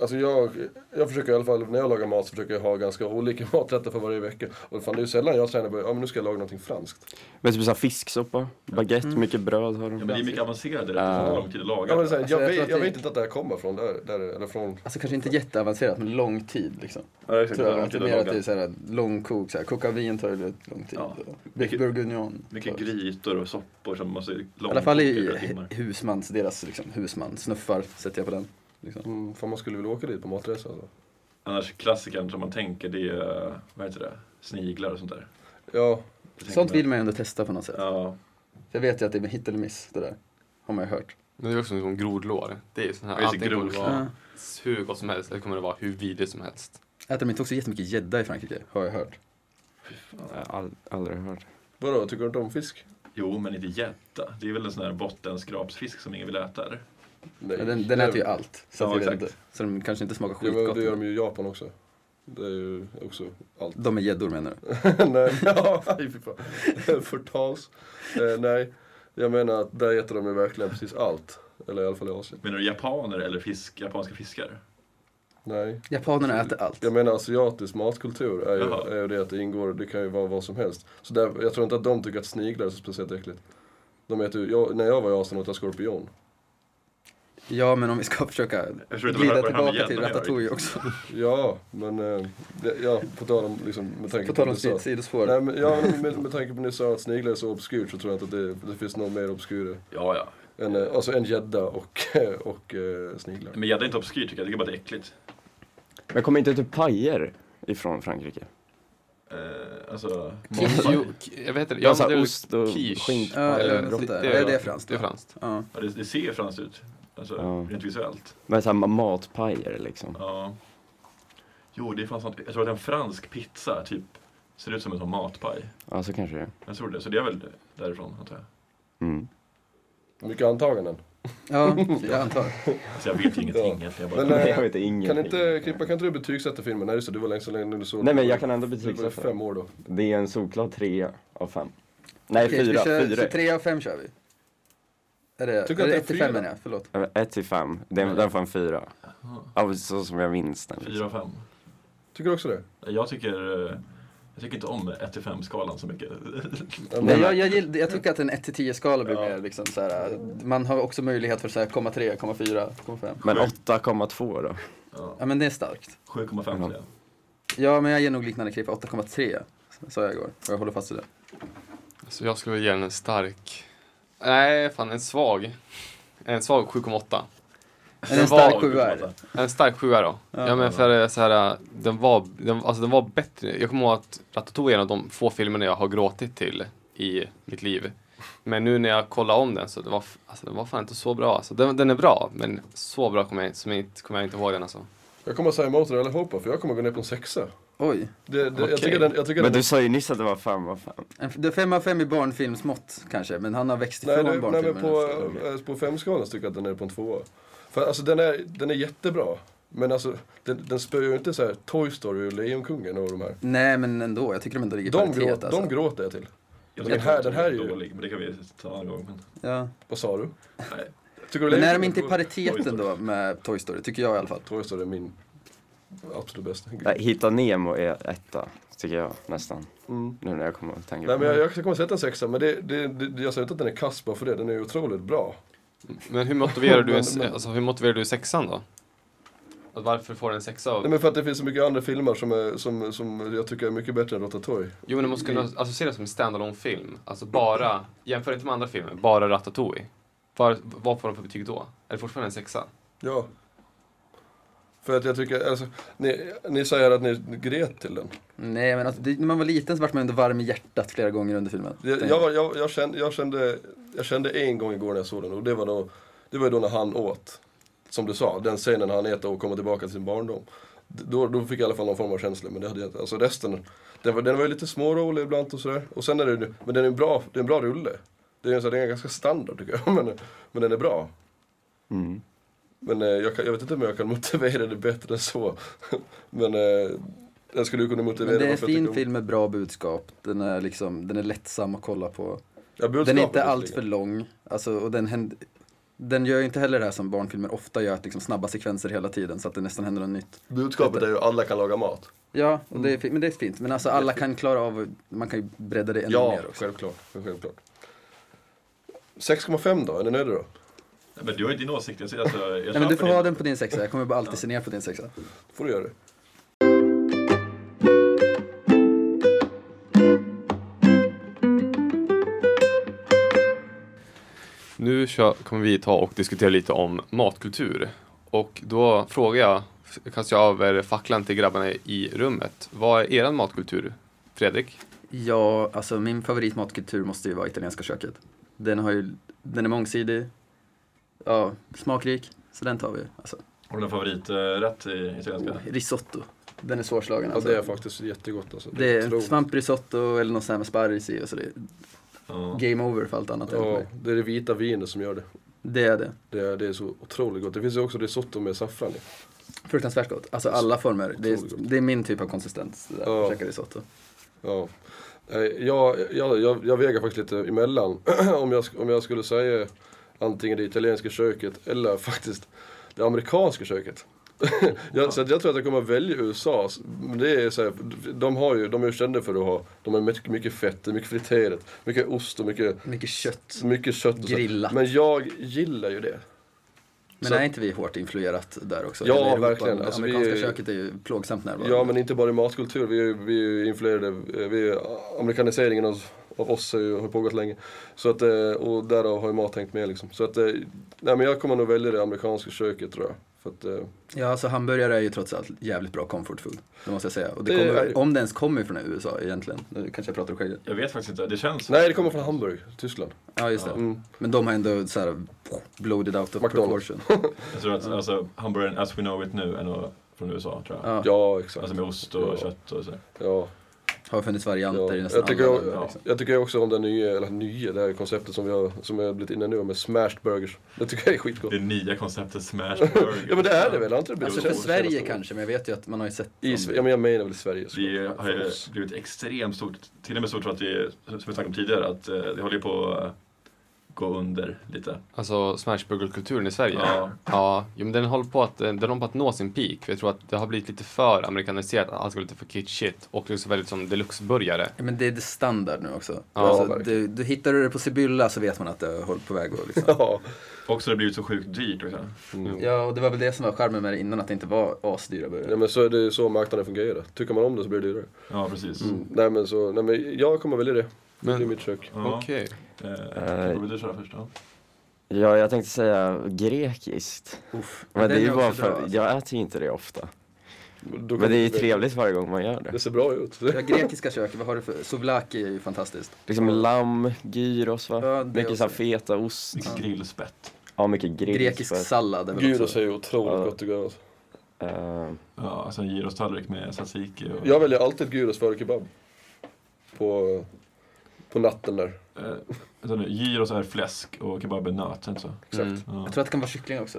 [SPEAKER 4] Alltså jag, jag försöker i alla fall, när jag lagar mat så försöker jag ha ganska olika maträtter för varje vecka. Och fan det är ju sällan jag tränar på, ja men nu ska jag laga någonting franskt.
[SPEAKER 5] Men typ såhär fisksoppa, baguette, mycket bröd har
[SPEAKER 6] Ja,
[SPEAKER 5] de.
[SPEAKER 6] men det är mycket avancerade rätter som
[SPEAKER 5] Ja.
[SPEAKER 6] tar lång tid att laga.
[SPEAKER 4] Ja, men så här,
[SPEAKER 3] Alltså, jag
[SPEAKER 4] jag,
[SPEAKER 3] tror
[SPEAKER 4] vet,
[SPEAKER 3] att
[SPEAKER 4] jag
[SPEAKER 3] det-
[SPEAKER 4] vet inte att det här kommer från, där, där, eller från...
[SPEAKER 3] Alltså kanske inte jätteavancerat, men lång tid liksom.
[SPEAKER 6] Ja, exakt,
[SPEAKER 3] Tror
[SPEAKER 6] det tar
[SPEAKER 3] jag,
[SPEAKER 6] lång
[SPEAKER 3] att det
[SPEAKER 6] tid
[SPEAKER 3] är mer att
[SPEAKER 6] att laga.
[SPEAKER 3] det är såhär långkok, såhär, koka vin tar ju rätt lång tid.
[SPEAKER 6] Ja.
[SPEAKER 3] Mycket
[SPEAKER 6] Mycket-
[SPEAKER 3] bourguignon.
[SPEAKER 6] Mycket
[SPEAKER 3] tar- I
[SPEAKER 6] grytor och soppor som måste långkoka
[SPEAKER 3] alla fall i
[SPEAKER 6] flera timmar.
[SPEAKER 3] husmans, deras liksom, husman, snuffar sätter jag på den. Liksom.
[SPEAKER 4] Mm, fan man skulle vilja åka dit på matresa alltså.
[SPEAKER 6] Annars klassikern som man tänker det är, eh, vad heter det, sniglar och sånt där.
[SPEAKER 4] Ja,
[SPEAKER 6] Jag tänker
[SPEAKER 3] Sånt
[SPEAKER 6] mig-
[SPEAKER 3] vill man ju ändå testa på något sätt.
[SPEAKER 6] Ja,
[SPEAKER 3] Jag vet ju att det är med hit eller miss, det där. Har man ju hört.
[SPEAKER 2] Men det är också som grodlår. Det är ju sån här,
[SPEAKER 6] Ja, just det,
[SPEAKER 2] antingen kommer det
[SPEAKER 6] grodlår.
[SPEAKER 2] vara hur gott som helst eller kommer det vara hur vidrigt som helst.
[SPEAKER 3] Äter de inte också jättemycket gädda i Frankrike, har jag hört.
[SPEAKER 5] Jag har ald- aldrig hört.
[SPEAKER 4] vadå, tycker du inte om fisk?
[SPEAKER 6] jo men inte gädda. Det är väl en sån här bottenskrapsfisk som ingen vill äta eller?
[SPEAKER 4] Nej.
[SPEAKER 3] Men den den
[SPEAKER 4] Det-
[SPEAKER 3] äter ju allt. Så,
[SPEAKER 6] Ja,
[SPEAKER 3] att jag vet
[SPEAKER 6] exakt.
[SPEAKER 3] inte. så de kanske inte smakar
[SPEAKER 4] Ja, men
[SPEAKER 3] skitgott.
[SPEAKER 4] det gör de ju i Japan också. Det är ju också allt.
[SPEAKER 3] de är gäddor menar du?
[SPEAKER 4] nej, men- eh, ja, nej, fy fan. Förtals. Eh, nej, jag menar att där äter de ju verkligen precis allt. Eller i alla fall i Asien.
[SPEAKER 6] Menar du japaner eller fisk, japanska fiskar?
[SPEAKER 4] Nej.
[SPEAKER 3] Japanerna äter allt.
[SPEAKER 4] Jag menar asiatisk matkultur är
[SPEAKER 6] Jaha.
[SPEAKER 4] ju, är ju det att det ingår, det kan ju vara vad som helst. Så där, jag tror inte att de tycker att sniglar är så speciellt äckligt. De äter ju, jag, när jag var i Asien åt jag skorpion.
[SPEAKER 3] Ja, men om vi ska försöka
[SPEAKER 6] förstår inte
[SPEAKER 3] glida
[SPEAKER 6] vad- vad det här
[SPEAKER 3] tillbaka
[SPEAKER 6] med
[SPEAKER 3] till
[SPEAKER 6] gäddan gör.
[SPEAKER 3] ratatouille också.
[SPEAKER 4] Ja, men eh, det- ja, på tal om liksom, med tanke
[SPEAKER 3] På tal
[SPEAKER 4] det
[SPEAKER 3] om
[SPEAKER 4] du sa.
[SPEAKER 3] sidospår.
[SPEAKER 4] Nej, men, ja, men med, med tanke på att ni sa att sniglar är så obskyrt så tror jag inte att det, det finns någon mer obskyr
[SPEAKER 6] Ja, ja.
[SPEAKER 4] än eh, alltså en gädda och, och eh, sniglar.
[SPEAKER 6] Men gädda är inte obskyr tycker jag, jag tycker bara det är äckligt.
[SPEAKER 5] Men kommer inte typ pajer ifrån Frankrike?
[SPEAKER 6] Eh, alltså,
[SPEAKER 2] Jo,
[SPEAKER 6] mångfald.
[SPEAKER 2] k- jag vet inte.
[SPEAKER 5] Ja,
[SPEAKER 2] Ja,
[SPEAKER 5] så
[SPEAKER 2] men
[SPEAKER 5] här
[SPEAKER 2] det är väl
[SPEAKER 5] ost och
[SPEAKER 2] quiche.
[SPEAKER 5] skink-
[SPEAKER 3] Ja,
[SPEAKER 2] eller
[SPEAKER 3] eller
[SPEAKER 2] något
[SPEAKER 3] något
[SPEAKER 2] sånt
[SPEAKER 3] där.
[SPEAKER 2] där.
[SPEAKER 3] Ja, det är franskt.
[SPEAKER 2] Det är franskt.
[SPEAKER 3] Ja.
[SPEAKER 6] Ja, det, det ser ju franskt ut. Alltså,
[SPEAKER 5] Ja.
[SPEAKER 6] rent visuellt.
[SPEAKER 5] Men såhär matpajer liksom.
[SPEAKER 6] Ja. Jo, det är fan sant. Jag tror att en fransk pizza är typ Ser ut som en sån matpaj.
[SPEAKER 5] Ja, så kanske det är.
[SPEAKER 6] Jag tror det. Så det är väl därifrån antar jag.
[SPEAKER 5] Mm.
[SPEAKER 4] Mycket antaganden.
[SPEAKER 3] Ja, jag antar.
[SPEAKER 6] Alltså jag vet ju ingenting
[SPEAKER 4] Ja.
[SPEAKER 6] egentligen. Jag bara,
[SPEAKER 4] Men, eh,
[SPEAKER 5] Jag vet ingenting.
[SPEAKER 4] Kan inte, Krippa, kan inte du betygsätta filmen? Nej, just det, du var längst så länge du såg
[SPEAKER 5] Nej, men
[SPEAKER 4] den.
[SPEAKER 5] jag kan ändå
[SPEAKER 4] Du var ju
[SPEAKER 5] betygsätta.
[SPEAKER 4] fem år då.
[SPEAKER 5] Det är en solklar trea av fem. Nej,
[SPEAKER 3] Okej,
[SPEAKER 5] fyra.
[SPEAKER 3] vi kör, Så
[SPEAKER 5] Fyra.
[SPEAKER 3] tre av fem kör vi. Är det,
[SPEAKER 4] Tycker
[SPEAKER 3] är
[SPEAKER 4] att
[SPEAKER 3] det
[SPEAKER 4] det är
[SPEAKER 3] ett till
[SPEAKER 4] fyra?
[SPEAKER 3] fem menar jag, förlåt.
[SPEAKER 5] Eh, Ett till fem. Den, den får en fyra.
[SPEAKER 6] Jaha.
[SPEAKER 5] Ja, så som jag minns den.
[SPEAKER 6] Fyra
[SPEAKER 5] Liksom.
[SPEAKER 6] av fem.
[SPEAKER 4] Tycker du också det?
[SPEAKER 6] Jag tycker, eh, jag tycker inte om 1 till 5 skalan så mycket.
[SPEAKER 4] Ja, men-
[SPEAKER 3] Nej, jag, jag, gill, jag tycker att en 1 till 10 skala blir
[SPEAKER 4] Ja.
[SPEAKER 3] mer liksom så här. man har också möjlighet för så här, 0,3, 0,4, 0,5.
[SPEAKER 5] Men 8,2 då?
[SPEAKER 6] Ja,
[SPEAKER 3] Ja men det är starkt.
[SPEAKER 6] 7,5 till det.
[SPEAKER 3] Ja men jag ger nog liknande klippa 8,3 sa jag igår och jag håller fast vid det.
[SPEAKER 2] Så jag skulle vilja ge den en stark... Nej, fan en svag. En svag 7,8.
[SPEAKER 3] Men en
[SPEAKER 2] var-
[SPEAKER 3] stark sjua är det.
[SPEAKER 2] En stark sjua då.
[SPEAKER 3] Ja.
[SPEAKER 2] Ja, men för eh, så här, den var, den, alltså den var bättre. Jag kommer ihåg att Ratatouille är en av de få filmerna jag har gråtit till i mitt liv. Men nu när jag kollar om den så det var, f- alltså, den var fan inte så bra. Alltså, den, den är bra, men så bra kommer jag, inte- som jag, inte- kommer jag inte ihåg den alltså.
[SPEAKER 4] Jag kommer att säga emot dig allihopa, för jag kommer att gå ner på en sexa.
[SPEAKER 3] Oj.
[SPEAKER 4] Det, det,
[SPEAKER 2] Okej.
[SPEAKER 4] jag tycker den, jag tycker
[SPEAKER 5] Men
[SPEAKER 4] den,
[SPEAKER 5] du sa ju nyss att det var fem av fem.
[SPEAKER 3] En, f- det är 5 av 5 i barnfilmsmått kanske men han har växt
[SPEAKER 4] nej,
[SPEAKER 3] ifrån
[SPEAKER 4] nej, nej, men
[SPEAKER 3] barnfilmerna.
[SPEAKER 4] på,
[SPEAKER 3] efter det.
[SPEAKER 4] eh, på femskalan så tycker jag att den är på en tvåa. För alltså den är, den är jättebra. Men alltså, den, den spöar ju inte så här Toy Story och Lejonkungen och de här.
[SPEAKER 3] Nej men ändå, jag tycker de ändå ligger i
[SPEAKER 4] De,
[SPEAKER 3] paritet
[SPEAKER 4] gråt,
[SPEAKER 3] alltså.
[SPEAKER 4] de gråter jag till.
[SPEAKER 6] Jag
[SPEAKER 4] Den
[SPEAKER 6] tycker
[SPEAKER 4] här-
[SPEAKER 6] att
[SPEAKER 4] den här är ju-
[SPEAKER 6] dålig, men det kan vi ta en annan gång. Men,
[SPEAKER 3] ja.
[SPEAKER 4] Vad sa du?
[SPEAKER 6] nej.
[SPEAKER 4] Tycker du
[SPEAKER 3] Men är de
[SPEAKER 4] Lejonkungen
[SPEAKER 3] inte i
[SPEAKER 4] går-
[SPEAKER 3] paritet ändå med Toy Story? Tycker jag i alla fall.
[SPEAKER 4] Toy Story är min absolut bästa.
[SPEAKER 5] Nej, Hitta Nemo är etta, tycker jag nästan.
[SPEAKER 4] Mm.
[SPEAKER 5] Nu när jag kommer att tänka
[SPEAKER 4] Nej,
[SPEAKER 5] på
[SPEAKER 4] men jag,
[SPEAKER 5] det.
[SPEAKER 4] jag kommer sätta en sexa, men det, det, det, jag säger inte att den är kass bara för det, den är ju otroligt bra.
[SPEAKER 2] Men hur motiverar du, en,
[SPEAKER 4] Men- men-
[SPEAKER 2] alltså, hur motiverar du sexan då? Att varför får den en sexa av...
[SPEAKER 4] Nej, men för att det finns så mycket andra filmer som, är, som, som jag tycker är mycket bättre än Ratatouille.
[SPEAKER 2] Jo, men du måste kunna associera det som en standalone film. Alltså bara, jämför inte med andra filmer, bara Ratatouille. Var, vad får den för betyg då? Är det fortfarande en sexa?
[SPEAKER 4] Ja. För att jag tycker, alltså, ni, ni säger att ni grät till den.
[SPEAKER 3] Nej men alltså, det, när man var liten så vart man ändå varm i hjärtat flera gånger under filmen.
[SPEAKER 4] Jag, jag, var- jag, jag, kände, jag, kände, jag kände en gång igår när jag såg den och det var då, det var ju då när han åt, som du sa, den scenen när han äter och kommer tillbaka till sin barndom. D- Då, då fick jag i alla fall någon form av känsla, men det hade jag inte. Alltså resten, den var, den var ju lite smårolig ibland och sådär. Och sen är det ju- men den är en bra, det är en bra rulle. Det är, en sån- den är ganska standard tycker jag, men, men den är bra.
[SPEAKER 5] Mm.
[SPEAKER 4] Men eh, jag, kan, jag vet inte om jag kan motivera det bättre än så. men eh, jag skulle ju kunna motivera
[SPEAKER 3] men det är en
[SPEAKER 4] varför jag tycker
[SPEAKER 3] fin
[SPEAKER 4] om-
[SPEAKER 3] film med bra budskap. Den är, liksom, den är lättsam att kolla på.
[SPEAKER 4] Ja,
[SPEAKER 3] Den är
[SPEAKER 4] budskapet
[SPEAKER 3] inte allt
[SPEAKER 4] visserligen.
[SPEAKER 3] för lång. Alltså, och den, händ, den gör ju inte heller det här som barnfilmer ofta gör, att liksom snabba sekvenser hela tiden så att det nästan händer något nytt.
[SPEAKER 4] Budskapet är ju alla kan laga mat.
[SPEAKER 3] Ja, och det är,
[SPEAKER 4] Mm.
[SPEAKER 3] fi- men det är fint. Men alltså alla kan klara av, man kan ju bredda det ännu
[SPEAKER 4] Ja,
[SPEAKER 3] mer också.
[SPEAKER 4] självklart. självklart. 6,5 då? Är ni nöjda då?
[SPEAKER 6] Nej, men du har ju din åsikt. Jag, säger alltså, jag
[SPEAKER 3] Nej men du
[SPEAKER 6] köper
[SPEAKER 3] får
[SPEAKER 6] din.
[SPEAKER 3] ha den på din sexa, jag kommer bara alltid se ner på din sexa.
[SPEAKER 4] får du göra det.
[SPEAKER 2] Nu kör, kommer vi ta och diskutera lite om matkultur. Och då frågar jag, kastar jag över facklan till grabbarna i rummet. Vad är eran matkultur? Fredrik?
[SPEAKER 3] Ja, alltså min favoritmatkultur måste ju vara italienska köket. Den, har ju, den är mångsidig, ja, smakrik, så den tar vi. Alltså,
[SPEAKER 6] Har du någon favoriträtt i italienska?
[SPEAKER 3] oh, risotto, den är svårslagen
[SPEAKER 4] Ja,
[SPEAKER 3] alltså.
[SPEAKER 4] det är faktiskt jättegott alltså.
[SPEAKER 3] Det är
[SPEAKER 4] otroligt.
[SPEAKER 3] svamprisotto eller något sånt här med sparris i och så det är
[SPEAKER 6] Ja.
[SPEAKER 3] game over för allt annat. enligt
[SPEAKER 4] Ja,
[SPEAKER 3] mig.
[SPEAKER 4] det är det vita vinet som gör det.
[SPEAKER 3] Det är det.
[SPEAKER 4] Det är, det är så otroligt gott. Det finns ju också risotto med saffran i.
[SPEAKER 3] Fruktansvärt gott. Alltså alla former. Det är,
[SPEAKER 4] Otroligt gott.
[SPEAKER 3] det är min typ av konsistens. Det där,
[SPEAKER 4] Ja.
[SPEAKER 3] att käka risotto.
[SPEAKER 4] Ja. Eh, Jag, jag, jag, jag väger faktiskt lite emellan. om, jag, sk- om jag skulle säga antingen det italienska köket eller faktiskt det amerikanska köket. jag, så att jag tror att jag kommer att välja USA. Men det är så här, de, har ju, de är ju kända för att ha de har mycket, mycket fett, det är mycket friterat, mycket ost och mycket,
[SPEAKER 3] Mycket kött.
[SPEAKER 4] mycket kött. Och så.
[SPEAKER 3] Grillat.
[SPEAKER 4] Men jag gillar ju det.
[SPEAKER 3] Men
[SPEAKER 4] Så-
[SPEAKER 3] är inte vi hårt influerat där också?
[SPEAKER 4] Ja,
[SPEAKER 3] Eller Europa?
[SPEAKER 4] verkligen.
[SPEAKER 3] Det
[SPEAKER 4] Alltså, vi
[SPEAKER 3] amerikanska
[SPEAKER 4] är ju-
[SPEAKER 3] köket är ju plågsamt närvarande.
[SPEAKER 4] Ja men inte bara i matkultur, vi är ju, vi är ju influerade, eh, vi är, amerikaniseringen av, av oss är ju, har pågått länge. Så att, eh, och därav har ju mat hängt med liksom. Så att, eh, nej men jag kommer nog välja det amerikanska köket tror jag. För att, eh,
[SPEAKER 3] Ja, alltså hamburgare är ju trots allt jävligt bra comfort food. Det måste jag säga. Och det
[SPEAKER 4] Det
[SPEAKER 3] kommer,
[SPEAKER 4] är-
[SPEAKER 3] Om det ens kommer från USA egentligen. Nu kanske jag pratar ur skägget.
[SPEAKER 6] Jag vet faktiskt inte. Det känns...
[SPEAKER 4] nej det kommer från Hamburg, Tyskland.
[SPEAKER 3] Ja, just det.
[SPEAKER 4] Mm.
[SPEAKER 3] Men de har ändå så här bloated out of
[SPEAKER 4] McDonald's.
[SPEAKER 3] proportion.
[SPEAKER 6] Jag tror att alltså, hamburgaren as we know it nu är nog från USA, tror jag.
[SPEAKER 3] Ja. Alltså,
[SPEAKER 4] Ja exakt.
[SPEAKER 6] Alltså med ost och
[SPEAKER 4] Ja.
[SPEAKER 6] kött och så.
[SPEAKER 4] Ja.
[SPEAKER 3] Har funnits varianter i
[SPEAKER 4] Ja,
[SPEAKER 3] nästan
[SPEAKER 4] jag tycker
[SPEAKER 3] alla
[SPEAKER 4] jag-
[SPEAKER 3] länder.
[SPEAKER 6] ja.
[SPEAKER 3] Liksom.
[SPEAKER 4] Jag tycker också om det nya, eller nya, det här konceptet som vi har, som jag har blivit inne nu med smashed burgers. Det tycker jag är skitgott.
[SPEAKER 6] Det nya konceptet Smash Burger.
[SPEAKER 4] Ja men det är det väl? Har inte det blivit
[SPEAKER 3] Alltså
[SPEAKER 4] så
[SPEAKER 3] för
[SPEAKER 4] senaste
[SPEAKER 3] Sverige
[SPEAKER 4] året?
[SPEAKER 3] kanske, men jag vet ju att man har ju sett
[SPEAKER 4] I,
[SPEAKER 3] som-
[SPEAKER 4] Sve- ja men jag menar väl Sverige. så.
[SPEAKER 6] Det har
[SPEAKER 4] För
[SPEAKER 6] ju
[SPEAKER 4] oss.
[SPEAKER 6] blivit extremt stort, till och med stort för att vi, som vi snackade om tidigare, att eh, det håller ju på att gå under lite.
[SPEAKER 2] Alltså smashburgerkulturen i Sverige.
[SPEAKER 6] Ja.
[SPEAKER 2] Ja, jo, men den håller på att, den håller på att nå sin peak. För jag tror att det har blivit lite för amerikaniserat, allt går lite för kitschigt och liksom väldigt som deluxe-burgare.
[SPEAKER 3] Ja, men det är det standard nu också.
[SPEAKER 2] Ja,
[SPEAKER 3] alltså,
[SPEAKER 4] verkligen.
[SPEAKER 3] du, du hittar du det på Sibylla så vet man att det håller på väg att liksom.
[SPEAKER 4] Ja,
[SPEAKER 6] Också har det blivit så sjukt dyrt också.
[SPEAKER 3] Ja, och det var väl det som var charmen med det innan, att det inte var asdyra
[SPEAKER 4] nej,
[SPEAKER 3] burgare.
[SPEAKER 4] men så är det ju så marknaden fungerar. Tycker man om det så blir det dyrare.
[SPEAKER 6] Ja, precis.
[SPEAKER 2] Mm.
[SPEAKER 4] Nej men så, nej men jag kommer välja det. Det är
[SPEAKER 2] Men
[SPEAKER 4] mitt kök.
[SPEAKER 6] Ja.
[SPEAKER 2] okej.
[SPEAKER 6] Eh, Tobbe, vill du köra först då?
[SPEAKER 5] Ja, jag tänkte säga grekiskt.
[SPEAKER 3] Uff.
[SPEAKER 5] Men det är
[SPEAKER 3] Den
[SPEAKER 5] ju bara
[SPEAKER 3] också
[SPEAKER 5] för,
[SPEAKER 3] bra, alltså.
[SPEAKER 5] jag äter ju inte det ofta.
[SPEAKER 4] Då
[SPEAKER 5] Men det är ju
[SPEAKER 4] kommer-
[SPEAKER 5] trevligt varje gång man gör det.
[SPEAKER 4] Det ser bra ut.
[SPEAKER 3] Ja, alltså. grekiska kök, vad har du för... Souvlaki är ju fantastiskt.
[SPEAKER 5] Liksom lamm, gyros va?
[SPEAKER 3] Ja, det
[SPEAKER 5] mycket
[SPEAKER 3] också.
[SPEAKER 5] så här feta ost.
[SPEAKER 6] Mycket Liksom grillspett.
[SPEAKER 5] Ja, mycket grekisk.
[SPEAKER 3] Grekisk sallad är väl
[SPEAKER 4] Gud, det
[SPEAKER 3] också...
[SPEAKER 4] ser ju otroligt
[SPEAKER 5] Ja.
[SPEAKER 4] gott och gott.
[SPEAKER 5] Eh,
[SPEAKER 6] Ja, alltså en gyrostallrik med tzatziki och...
[SPEAKER 4] Jag väljer alltid gyros före kebab. På, på natten där.
[SPEAKER 6] Eh, vänta nu, gyros är fläsk och kebab är nöt, är det inte så?
[SPEAKER 4] Exakt.
[SPEAKER 2] Mm.
[SPEAKER 6] Ja.
[SPEAKER 3] Jag tror att det kan vara kyckling också.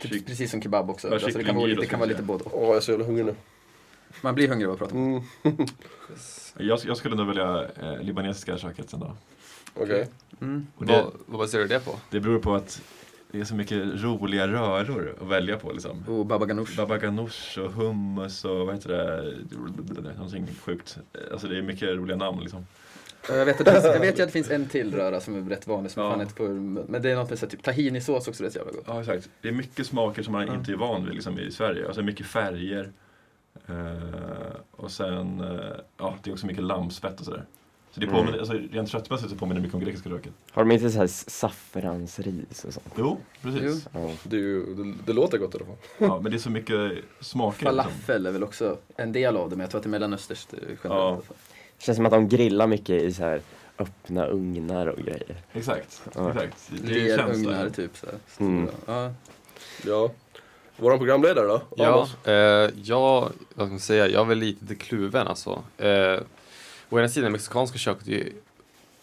[SPEAKER 3] Typ,
[SPEAKER 6] Kyck-
[SPEAKER 3] precis som kebab också.
[SPEAKER 6] Ja,
[SPEAKER 3] Alltså, det kan
[SPEAKER 6] kyckling,
[SPEAKER 3] vara, lite-
[SPEAKER 6] gyros
[SPEAKER 3] det kan vara
[SPEAKER 6] kanske.
[SPEAKER 3] lite både och.
[SPEAKER 4] Åh, jag är så jävla hungrig nu.
[SPEAKER 3] Man blir hungrig av att prata om
[SPEAKER 4] Mm,
[SPEAKER 6] jag, jag skulle nog välja eh, libanesiska köket sen då.
[SPEAKER 4] Okej.
[SPEAKER 3] mm.
[SPEAKER 6] Och det,
[SPEAKER 2] Vad, vad baserar du det på?
[SPEAKER 6] det beror på att det är så mycket roliga röror att välja på liksom.
[SPEAKER 3] Mm. Och baba ganoush.
[SPEAKER 6] Baba ganoush och hummus och vad heter det? Någonting sjukt. Alltså det är mycket roliga namn liksom.
[SPEAKER 3] Ja, Jag Eh, vet, att det finns, jag vet ju att det finns en till röra som är rätt vanlig, som
[SPEAKER 6] Ja.
[SPEAKER 3] fan inte på, men det är något med så här, typ tahinisås också, det är så jävla gott.
[SPEAKER 6] Ja exakt. Det är mycket smaker som man
[SPEAKER 3] Ja.
[SPEAKER 6] inte är van vid liksom, i Sverige. Alltså mycket färger. Eh, och sen, eh, ja det är också mycket lammspett och sådär. Så det
[SPEAKER 5] Mm.
[SPEAKER 6] påminner, alltså, rent köttmässigt så påminner det mycket om grekiska köket.
[SPEAKER 5] har de inte så här s- saffransris och sånt?
[SPEAKER 6] Jo, precis.
[SPEAKER 5] Ja.
[SPEAKER 4] Det, är ju, det, det låter gott i alla fall.
[SPEAKER 6] Ja, men det är så mycket smaker. Liksom.
[SPEAKER 3] Falafel är väl också en del av det, men jag tror att det är mellanösterskt eh, generellt.
[SPEAKER 5] Känns som att de grillar mycket i så här öppna ugnar och grejer.
[SPEAKER 6] Exakt.
[SPEAKER 5] Ja.
[SPEAKER 6] exakt. Det känns
[SPEAKER 3] Lerugnar,
[SPEAKER 6] där.
[SPEAKER 3] typ så här.
[SPEAKER 5] Mm.
[SPEAKER 3] Ja.
[SPEAKER 4] Ja. Våran programledare då?
[SPEAKER 2] Ja,
[SPEAKER 4] Amos?
[SPEAKER 2] eh, jag, vad ska man säga, jag är väl lite till kluven alltså. Eh, å ena sidan, mexikanska köket är ju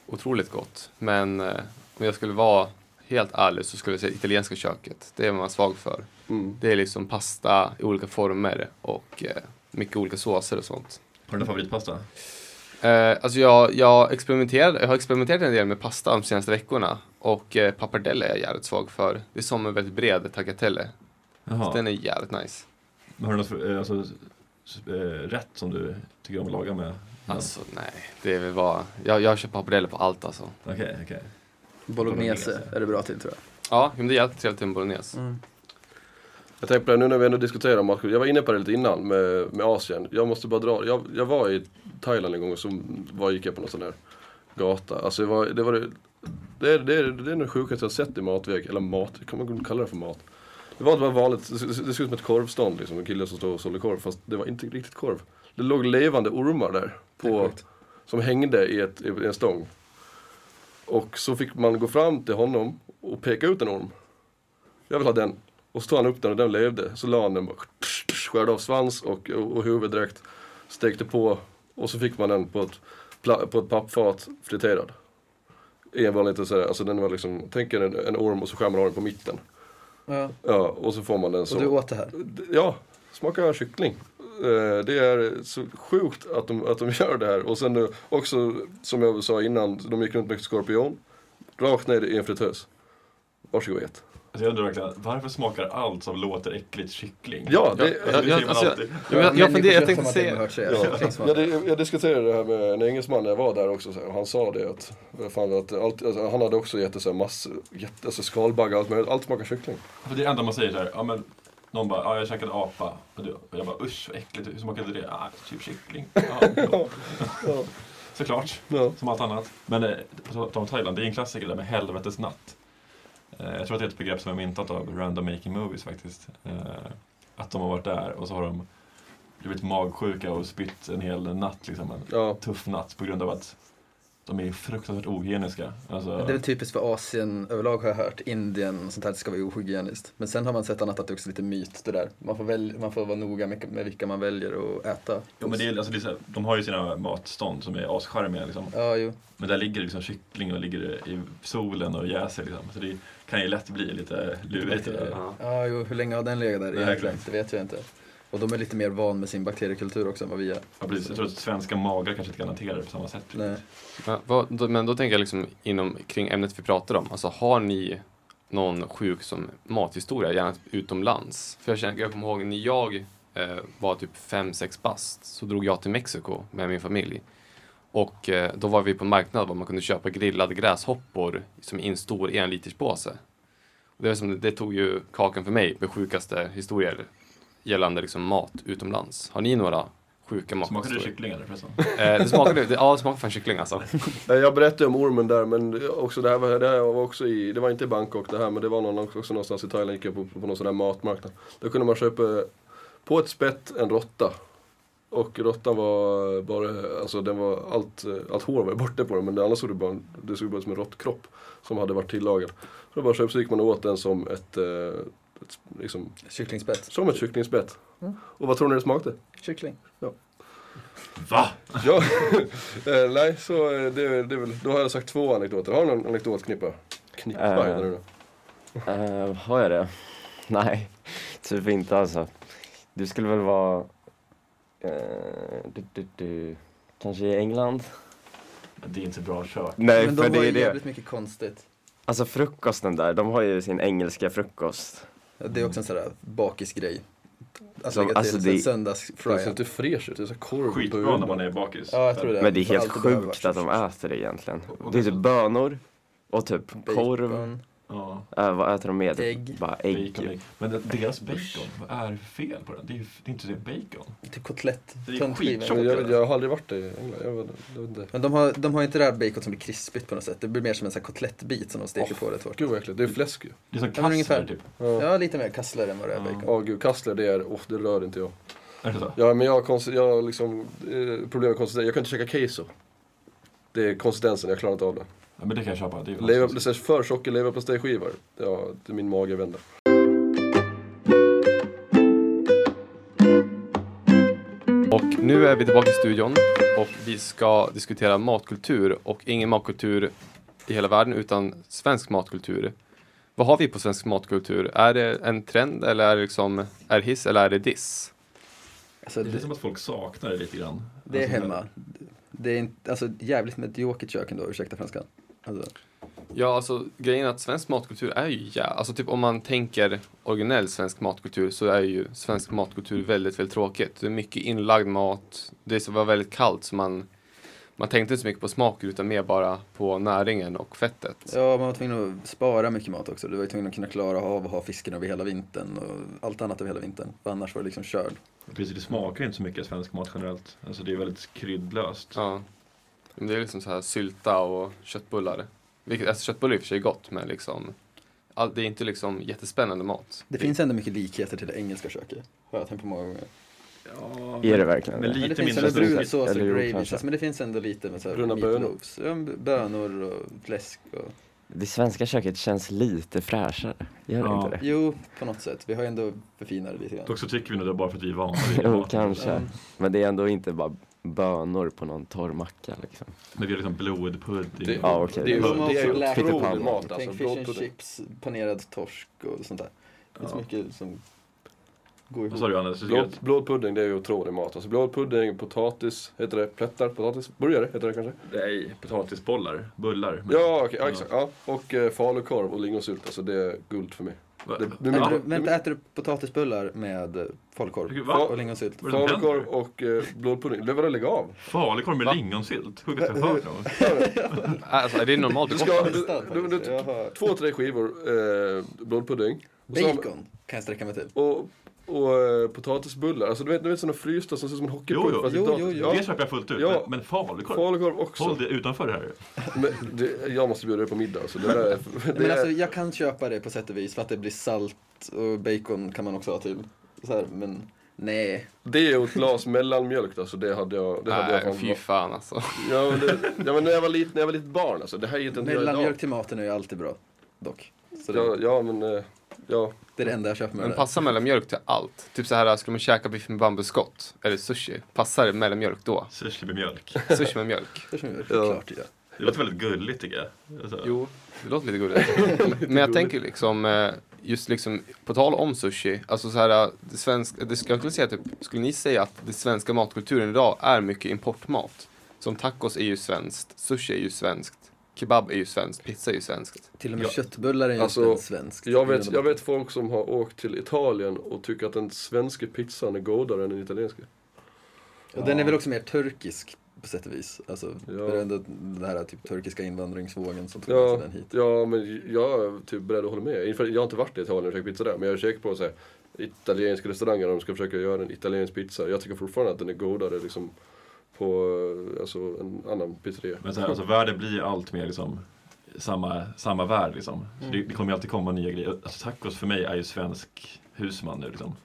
[SPEAKER 2] otroligt gott, men eh, om jag skulle vara helt ärlig så skulle jag säga italienska köket. Det är man svag för.
[SPEAKER 4] Mm.
[SPEAKER 2] Det är liksom pasta i olika former och eh, mycket olika såser och sånt.
[SPEAKER 6] Har du någon favoritpasta?
[SPEAKER 2] Eh, alltså jag, jag, experimenterade, jag har experimenterat en del med pasta de senaste veckorna och eh, pappardelle är jag jävligt svag för. Det är som en väldigt bred tagliatelle. Så
[SPEAKER 6] Jaha.
[SPEAKER 2] Den är jävligt nice.
[SPEAKER 6] Men Har du något för- eh, alltså, s- eh, rätt som du tycker om att laga med?
[SPEAKER 2] Alltså nej, det är väl bara... Jag, jag kör pappardelle på allt alltså.
[SPEAKER 6] Okej, okej.
[SPEAKER 3] Bolognese
[SPEAKER 6] Bolognese.
[SPEAKER 3] är det bra till tror jag. Mm.
[SPEAKER 2] Ja, men det är jävligt trevligt med bolognese.
[SPEAKER 4] Jag tänkte på det nu när vi ändå diskuterar matcher. Jag var inne på det lite innan med, med Asien. Jag måste bara dra. Jag, jag var i Thailand en gång och så var, gick jag på någon sån här gata. Alltså det var det, var det, det, är, det, är, det är det sjukaste jag har sett i matväg. Eller mat, kan man kalla det för mat? Det var bara vanligt, det såg det såg ut som ett korvstånd liksom. En kille som stod och sålde korv fast det var inte riktigt korv. Det låg levande ormar där. På, som hängde i, ett, i en stång. Och så fick man gå fram till honom och peka ut en orm. Jag vill ha den. Och så tog han upp den och den levde. Så la han den bara, psh, psh, skärde av svans och, och, och huvud direkt. Stekte på och så fick man den på ett, pla- på ett pappfat friterad. I en vanlig liten sådär, alltså den var liksom, tänk er en, en orm och så skär man av den på mitten.
[SPEAKER 3] Ja.
[SPEAKER 4] Ja, och så får man den så.
[SPEAKER 3] Och du åt det här?
[SPEAKER 4] D- Ja, smaka kyckling. Eh, Det är så sjukt att de, att de gör det här. Och sen eh, också, som jag sa innan, de gick runt med skorpion. Rakt ner i en fritös. Varsågod och ät.
[SPEAKER 6] Alltså jag undrar verkligen, varför smakar allt som låter äckligt kyckling?
[SPEAKER 4] Ja, det,
[SPEAKER 6] Alltså, det
[SPEAKER 2] jag-
[SPEAKER 6] säger man
[SPEAKER 2] alltså,
[SPEAKER 6] alltid.
[SPEAKER 2] Ja, men jag, jag, funderar, jag tänkte säga...
[SPEAKER 4] Ja.
[SPEAKER 3] säga...
[SPEAKER 4] Jag, di- jag diskuterade det här med en engelsman när jag var där också så här, och han sa det att, fan, att allt, alltså, han hade också gett det så här massor, gett, alltså skalbaggar och allt möjligt, allt smakar kyckling.
[SPEAKER 6] För det är det enda man säger såhär, ja men någon bara, ja jag käkade apa. Och, du, och jag bara, usch vad äckligt, hur smakade det? Ah, typ kyckling. Ja, ja.
[SPEAKER 4] Ja,
[SPEAKER 6] Såklart,
[SPEAKER 4] ja.
[SPEAKER 6] som allt annat. Men eh, på tal om Thailand, det är en klassiker det där med helvetes natt. Eh, jag tror att det är ett begrepp som är myntat av Random Making Movies faktiskt. Eh, att de har varit där och så har de blivit magsjuka och spytt en hel natt liksom. En
[SPEAKER 4] ja.
[SPEAKER 6] tuff natt på grund av att De är fruktansvärt ogeniska. Alltså,
[SPEAKER 3] Det är väl typiskt för Asien överlag har jag hört. Indien och sånt här ska vara ohygieniskt. Men sen har man sett annat att det också är lite myt det där. Man får, väl, man får vara noga med, med vilka man väljer att äta.
[SPEAKER 6] ja, men det är, alltså, det är så här, de har ju sina matstånd som är ascharmiga. Liksom.
[SPEAKER 3] Ja, jo.
[SPEAKER 6] Men där ligger det liksom kyckling och ligger det i solen och jäser. Liksom. Så det kan ju lätt bli lite lurigt. det där.
[SPEAKER 2] Ja.
[SPEAKER 3] Ja, jo. Hur länge har den legat där
[SPEAKER 6] Nej,
[SPEAKER 3] egentligen?
[SPEAKER 6] exakt.
[SPEAKER 3] Det vet jag inte. Och de är lite mer van med sin bakteriekultur också än vad vi är.
[SPEAKER 6] Ja, precis. Jag tror att svenska magrar kanske inte kan hantera det på samma sätt.
[SPEAKER 3] Nej.
[SPEAKER 2] Ja, vad, då, men då tänker jag liksom inom, kring ämnet vi pratar om. Alltså har ni någon sjuk som mathistoria, gärna typ utomlands? För jag, känner, jag kommer ihåg när jag eh, var typ 5-6 bast så drog jag till Mexiko med min familj. Och eh, då var vi på en marknad där man kunde köpa grillade gräshoppor som i en stor enliterspåse. Och det, var som, det tog ju kakan för mig med sjukaste historier gällande liksom mat utomlands. Har ni några sjuka
[SPEAKER 6] Smakar det
[SPEAKER 2] mathistorier?
[SPEAKER 6] kyckling eller förresten?
[SPEAKER 2] Eh, det smakade, det, ja, det smakade fan kyckling alltså.
[SPEAKER 4] Eh, Jag berättade om ormen där men också det här, var, det här var också i, det var inte i Bangkok det här men det var någon, också någonstans i Thailand gick jag på, på någon sån där matmarknad. Då kunde man köpa på ett spett en råtta. Och råttan var bara, alltså den var allt, eh, allt hår var borta på den men det, annars såg det bara, det såg bara ut som en råttkropp som hade varit tillagad. Så då bara köpte så gick man och åt den som ett, eh, ett liksom,
[SPEAKER 3] Kycklingspett.
[SPEAKER 4] som ett kycklingspett. Och vad tror ni det smakade?
[SPEAKER 3] Kyckling.
[SPEAKER 6] Va?
[SPEAKER 4] Ja, eh, nej så eh, det är, väl- det är väl, då har jag sagt två anekdoter. Har du någon anekdotknippa? Knippa
[SPEAKER 5] Eh.
[SPEAKER 4] heter det då.
[SPEAKER 5] Eh, har jag det? Nej, typ inte alltså. Du skulle väl vara... eh, du, du, du. Kanske i England?
[SPEAKER 6] Men det är inte bra kök.
[SPEAKER 5] Nej,
[SPEAKER 3] Men
[SPEAKER 5] för
[SPEAKER 3] de
[SPEAKER 5] det
[SPEAKER 3] har
[SPEAKER 5] är
[SPEAKER 3] ju
[SPEAKER 5] det.
[SPEAKER 3] jävligt mycket konstigt.
[SPEAKER 5] Alltså frukosten där, de har ju sin engelska frukost.
[SPEAKER 3] Ja, Det är också en sån där bakisgrej. Att lägga till
[SPEAKER 5] Som- alltså,
[SPEAKER 3] en
[SPEAKER 5] det- alltså,
[SPEAKER 4] Det ser
[SPEAKER 3] söndagsfrya.
[SPEAKER 4] inte fräscht ut, det är så här korv
[SPEAKER 6] Skitbra
[SPEAKER 4] bönor.
[SPEAKER 6] när man är bakis.
[SPEAKER 3] Mm. Ja, jag tror det.
[SPEAKER 5] Men det är
[SPEAKER 3] För
[SPEAKER 5] helt
[SPEAKER 3] allt behöver
[SPEAKER 5] sjukt
[SPEAKER 3] vara
[SPEAKER 5] att de äter det egentligen.
[SPEAKER 6] och
[SPEAKER 5] Det är typ bönor och typ korv.
[SPEAKER 3] Bacon.
[SPEAKER 6] Ja,
[SPEAKER 5] Eh, vad äter de med?
[SPEAKER 3] Ägg.
[SPEAKER 5] Bara ägg. typ.
[SPEAKER 6] bacon. Men det- deras bacon, vad är fel på den? Det är ju det är inte det bacon.
[SPEAKER 3] Typ kotlett.
[SPEAKER 6] Det är
[SPEAKER 3] Tunnskiva.
[SPEAKER 6] skittjockt.
[SPEAKER 4] Men jag, vet- jag har aldrig varit i England. Jag, vet- jag vet inte.
[SPEAKER 3] Men de har, de har inte det här bacon som blir krispigt på något sätt. Det blir mer som en sån här kotlettbit som de steker
[SPEAKER 4] Åh,
[SPEAKER 3] på rätt hårt.
[SPEAKER 4] Gud vad äckligt, det är fläsk ju.
[SPEAKER 6] Det är som
[SPEAKER 3] Ja, men ungefär.
[SPEAKER 6] kassler typ.
[SPEAKER 4] Ja,
[SPEAKER 3] Ja, lite mer kassler än vad det är
[SPEAKER 6] Ja.
[SPEAKER 3] bacon.
[SPEAKER 4] Åh, gud, kassler det är, åh det rör inte jag.
[SPEAKER 6] Är det så?
[SPEAKER 4] Ja men jag har konst- jag har liksom, eh, problem med konsistens, jag kan inte käka queso. Det är konsistensen, jag klarar inte av det.
[SPEAKER 6] Ja, men det kan jag köpa. Det är ju
[SPEAKER 4] Lever, det är för tjocka leverpastejskivor, ja, det är min mage vänder.
[SPEAKER 2] Och nu är vi tillbaka i studion och vi ska diskutera matkultur och ingen matkultur i hela världen utan svensk matkultur. Vad har vi på svensk matkultur? Är det en trend eller är det liksom, är det hiss eller är det diss?
[SPEAKER 3] Alltså,
[SPEAKER 6] Det är
[SPEAKER 3] det,
[SPEAKER 6] som att folk saknar det lite grann.
[SPEAKER 3] det är
[SPEAKER 6] Alltså,
[SPEAKER 3] hemma. Det är inte, alltså jävligt mediokert kök ändå, ursäkta franskan. Alltså,
[SPEAKER 2] Ja, alltså grejen är att svensk matkultur är ju, ja, alltså typ om man tänker originell svensk matkultur så är ju svensk matkultur väldigt, väldigt tråkigt. Det är mycket inlagd mat, det som var väldigt kallt så man, man tänkte inte så mycket på smaker utan mer bara på näringen och fettet.
[SPEAKER 3] ja, man var tvungen att spara mycket mat också. Du var ju tvungen att kunna klara av att ha fisken över hela vintern och allt annat över hela vintern. För annars var det liksom körd.
[SPEAKER 6] Precis, det smakar ju inte så mycket svensk mat generellt. Alltså det är väldigt kryddlöst.
[SPEAKER 2] Ja. Men det är liksom så här sylta och köttbullar. Vilket, alltså köttbullar är i och för sig gott, men liksom all, det är inte liksom jättespännande mat.
[SPEAKER 3] Det finns ändå mycket likheter till det engelska köket. Har jag tänkt på många gånger.
[SPEAKER 5] Är det verkligen
[SPEAKER 6] Men
[SPEAKER 5] det?
[SPEAKER 6] lite
[SPEAKER 3] men det finns
[SPEAKER 6] mindre
[SPEAKER 3] ändå brun
[SPEAKER 6] smak.
[SPEAKER 3] sås och
[SPEAKER 5] Eller jo,
[SPEAKER 3] gravy,
[SPEAKER 5] kanske.
[SPEAKER 3] alltså, men det finns ändå lite med så här
[SPEAKER 4] Bruna bönor.
[SPEAKER 3] meatloafs. Ja, men Bönor och fläsk och...
[SPEAKER 5] Det svenska köket känns lite fräschare. Gör det
[SPEAKER 6] Ja.
[SPEAKER 5] inte det?
[SPEAKER 3] Jo, på något sätt. Vi har ju ändå förfinat det lite grann.
[SPEAKER 6] Dock så tycker vi nog det bara för att vi är vana vid
[SPEAKER 5] Jo,
[SPEAKER 6] maten.
[SPEAKER 4] Mm.
[SPEAKER 5] kanske. Men det är ändå inte bara bönor på någon torr macka liksom.
[SPEAKER 6] Men vi har liksom blodpudding.
[SPEAKER 4] Det-
[SPEAKER 5] Ja, okej.
[SPEAKER 4] Det är ju
[SPEAKER 6] Hummer
[SPEAKER 4] det är ju
[SPEAKER 3] och fläsk.
[SPEAKER 4] otrolig
[SPEAKER 5] Pyttipanna.
[SPEAKER 4] mat alltså.
[SPEAKER 3] Tänk fish and
[SPEAKER 4] blodpudding.
[SPEAKER 3] chips, panerad torsk och sånt där. Det finns
[SPEAKER 6] Ja.
[SPEAKER 3] mycket som går
[SPEAKER 6] Vad sa
[SPEAKER 3] ihop.
[SPEAKER 6] du Anders? Du tycker
[SPEAKER 4] Blod,
[SPEAKER 6] att
[SPEAKER 4] blodpudding det är ju otrolig mat. Alltså blodpudding, potatis, heter det plättar? Potatis? Burgare heter det kanske?
[SPEAKER 6] nej, potatisbollar, bullar. men-
[SPEAKER 4] Ja, okej, ja, exakt. Ja. Och eh, falukorv och lingonsylt, alltså det är guld för mig.
[SPEAKER 6] Va-
[SPEAKER 4] Det- det-
[SPEAKER 6] Ja.
[SPEAKER 3] Äter du,
[SPEAKER 4] Ja.
[SPEAKER 3] vänta, äter du potatisbullar med eh, falukorv?
[SPEAKER 6] Va?
[SPEAKER 3] Och lingonsylt?
[SPEAKER 6] Vad är det som
[SPEAKER 4] Falukorv
[SPEAKER 6] händer?
[SPEAKER 4] och eh, blodpudding, det var det lägg av!
[SPEAKER 6] Falukorv med lingonsylt? Sjukaste jag hört någon.
[SPEAKER 2] Alltså, är det normalt
[SPEAKER 4] Du
[SPEAKER 2] gott?
[SPEAKER 4] ska, du,
[SPEAKER 3] Testad
[SPEAKER 4] du, du,
[SPEAKER 3] faktiskt, jag har-
[SPEAKER 4] två, tre skivor eh, blodpudding. Och så har-
[SPEAKER 3] Bacon kan jag sträcka mig till.
[SPEAKER 4] Och, och eh, potatisbullar, alltså du vet, du vet sådana frysta som ser ut som en
[SPEAKER 6] Jo, jo.
[SPEAKER 4] hockeypuck fast i
[SPEAKER 3] Jo, jo,
[SPEAKER 4] potatis.
[SPEAKER 3] jo.
[SPEAKER 6] Det
[SPEAKER 4] Ja,
[SPEAKER 6] köper jag fullt ut.
[SPEAKER 4] Ja.
[SPEAKER 6] Men, men falukorv?
[SPEAKER 4] falukorv också.
[SPEAKER 6] Håll det utanför det här.
[SPEAKER 4] Men det, jag måste bjuda dig på middag alltså. Det där är,
[SPEAKER 3] Nej,
[SPEAKER 4] det
[SPEAKER 3] men
[SPEAKER 4] är,
[SPEAKER 3] alltså, jag kan köpa det på sätt och vis för att det blir salt och bacon kan man också ha till. Så här, men Nej.
[SPEAKER 4] Det och ett glas mellanmjölk alltså, det hade jag... Det hade
[SPEAKER 2] Nej,
[SPEAKER 4] jag
[SPEAKER 2] fy fan alltså.
[SPEAKER 4] ja, men det, ja, men när jag var litet, när jag var litet barn alltså. Det här är ju inte en
[SPEAKER 3] Mellanmjölk till maten är ju alltid bra. Dock. Så det,
[SPEAKER 4] Ja, ja, men... eh, Ja,
[SPEAKER 3] det är det enda jag köper med
[SPEAKER 2] Men
[SPEAKER 3] det.
[SPEAKER 2] passar mellanmjölk till allt? Typ så här, skulle man käka biff med bambuskott eller sushi, passar det mellanmjölk då?
[SPEAKER 6] Sushi med mjölk.
[SPEAKER 2] Sushi med mjölk?
[SPEAKER 3] Det känner jag
[SPEAKER 4] Ja.
[SPEAKER 3] klart ja.
[SPEAKER 6] Det låter väldigt gulligt tycker jag. Alltså,
[SPEAKER 2] Jo, det låter lite gulligt. Men jag tänker liksom, eh, just liksom, på tal om sushi, alltså så här, eh, det svenska, det skulle, jag skulle, säga, typ, skulle ni säga att den svenska matkulturen idag är mycket importmat? Som tacos är ju svenskt, sushi är ju svenskt, kebab är ju svenskt, pizza är ju svenskt.
[SPEAKER 3] Till och med
[SPEAKER 4] Ja.
[SPEAKER 3] köttbullar är ju
[SPEAKER 4] Alltså,
[SPEAKER 3] alltså, svenskt.
[SPEAKER 4] jag vet, jag vet folk som har åkt till Italien och tycker att den svenska pizzan är godare än den italienska.
[SPEAKER 3] Och den är väl också mer turkisk på sätt och vis. Alltså,
[SPEAKER 4] Ja.
[SPEAKER 3] det är ändå den här typ, turkiska invandringsvågen som tog med sig
[SPEAKER 4] Ja,
[SPEAKER 3] alltså, den hit.
[SPEAKER 4] ja, men jag är typ beredd att hålla med. Inför- Jag har inte varit i Italien och käkat pizza där, men jag är säker på så här, italienska restauranger de ska försöka göra en italiensk pizza. Jag tycker fortfarande att den är godare liksom, på eh, alltså, en annan pizzeria.
[SPEAKER 6] Men så här, alltså, världen blir ju allt mer liksom, samma, samma värld. Liksom. Så
[SPEAKER 4] Mm.
[SPEAKER 6] Det, det kommer ju alltid komma nya grejer. Alltså, tacos för mig är ju svensk husman nu. Liksom.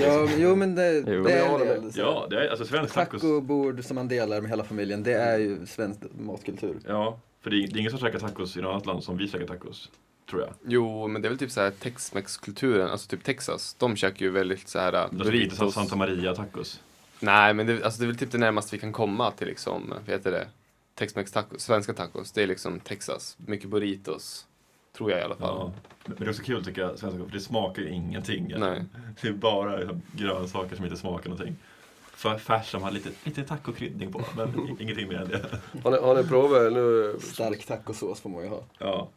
[SPEAKER 3] Ja, men- jo men det,
[SPEAKER 5] Jo.
[SPEAKER 3] det
[SPEAKER 4] Jag
[SPEAKER 3] är
[SPEAKER 4] håller
[SPEAKER 3] det.
[SPEAKER 4] med.
[SPEAKER 3] Så-
[SPEAKER 6] Ja, det är, alltså svensk tacos.
[SPEAKER 3] Tacobord som man delar med hela familjen, det är ju svensk matkultur.
[SPEAKER 6] Ja, för det är, det är ingen som käkar tacos i något annat land som vi käkar tacos. Tror jag.
[SPEAKER 2] Jo, men det är väl typ så här tex-mex-kulturen, alltså typ Texas, de käkar ju väldigt så här eh,
[SPEAKER 6] Alltså, Det är inte så
[SPEAKER 2] burritos.
[SPEAKER 6] Santa Maria tacos.
[SPEAKER 2] Nej, men det, alltså, det är väl typ det närmaste vi kan komma till liksom, vad heter det? Tex-mex tacos, svenska tacos, det är liksom Texas, mycket burritos. Tror jag i alla fall.
[SPEAKER 6] Ja. Men det är också kul tycker jag, svenska, för det smakar ju ingenting. egentligen.
[SPEAKER 2] Nej.
[SPEAKER 6] Det är bara liksom, grönsaker som inte smakar någonting. För färs som har lite, lite tacokryddning på, men i- ingenting mer än det.
[SPEAKER 4] Har ni, har ni provat nu?
[SPEAKER 3] Stark tacosås får man ju ha.
[SPEAKER 6] Ja.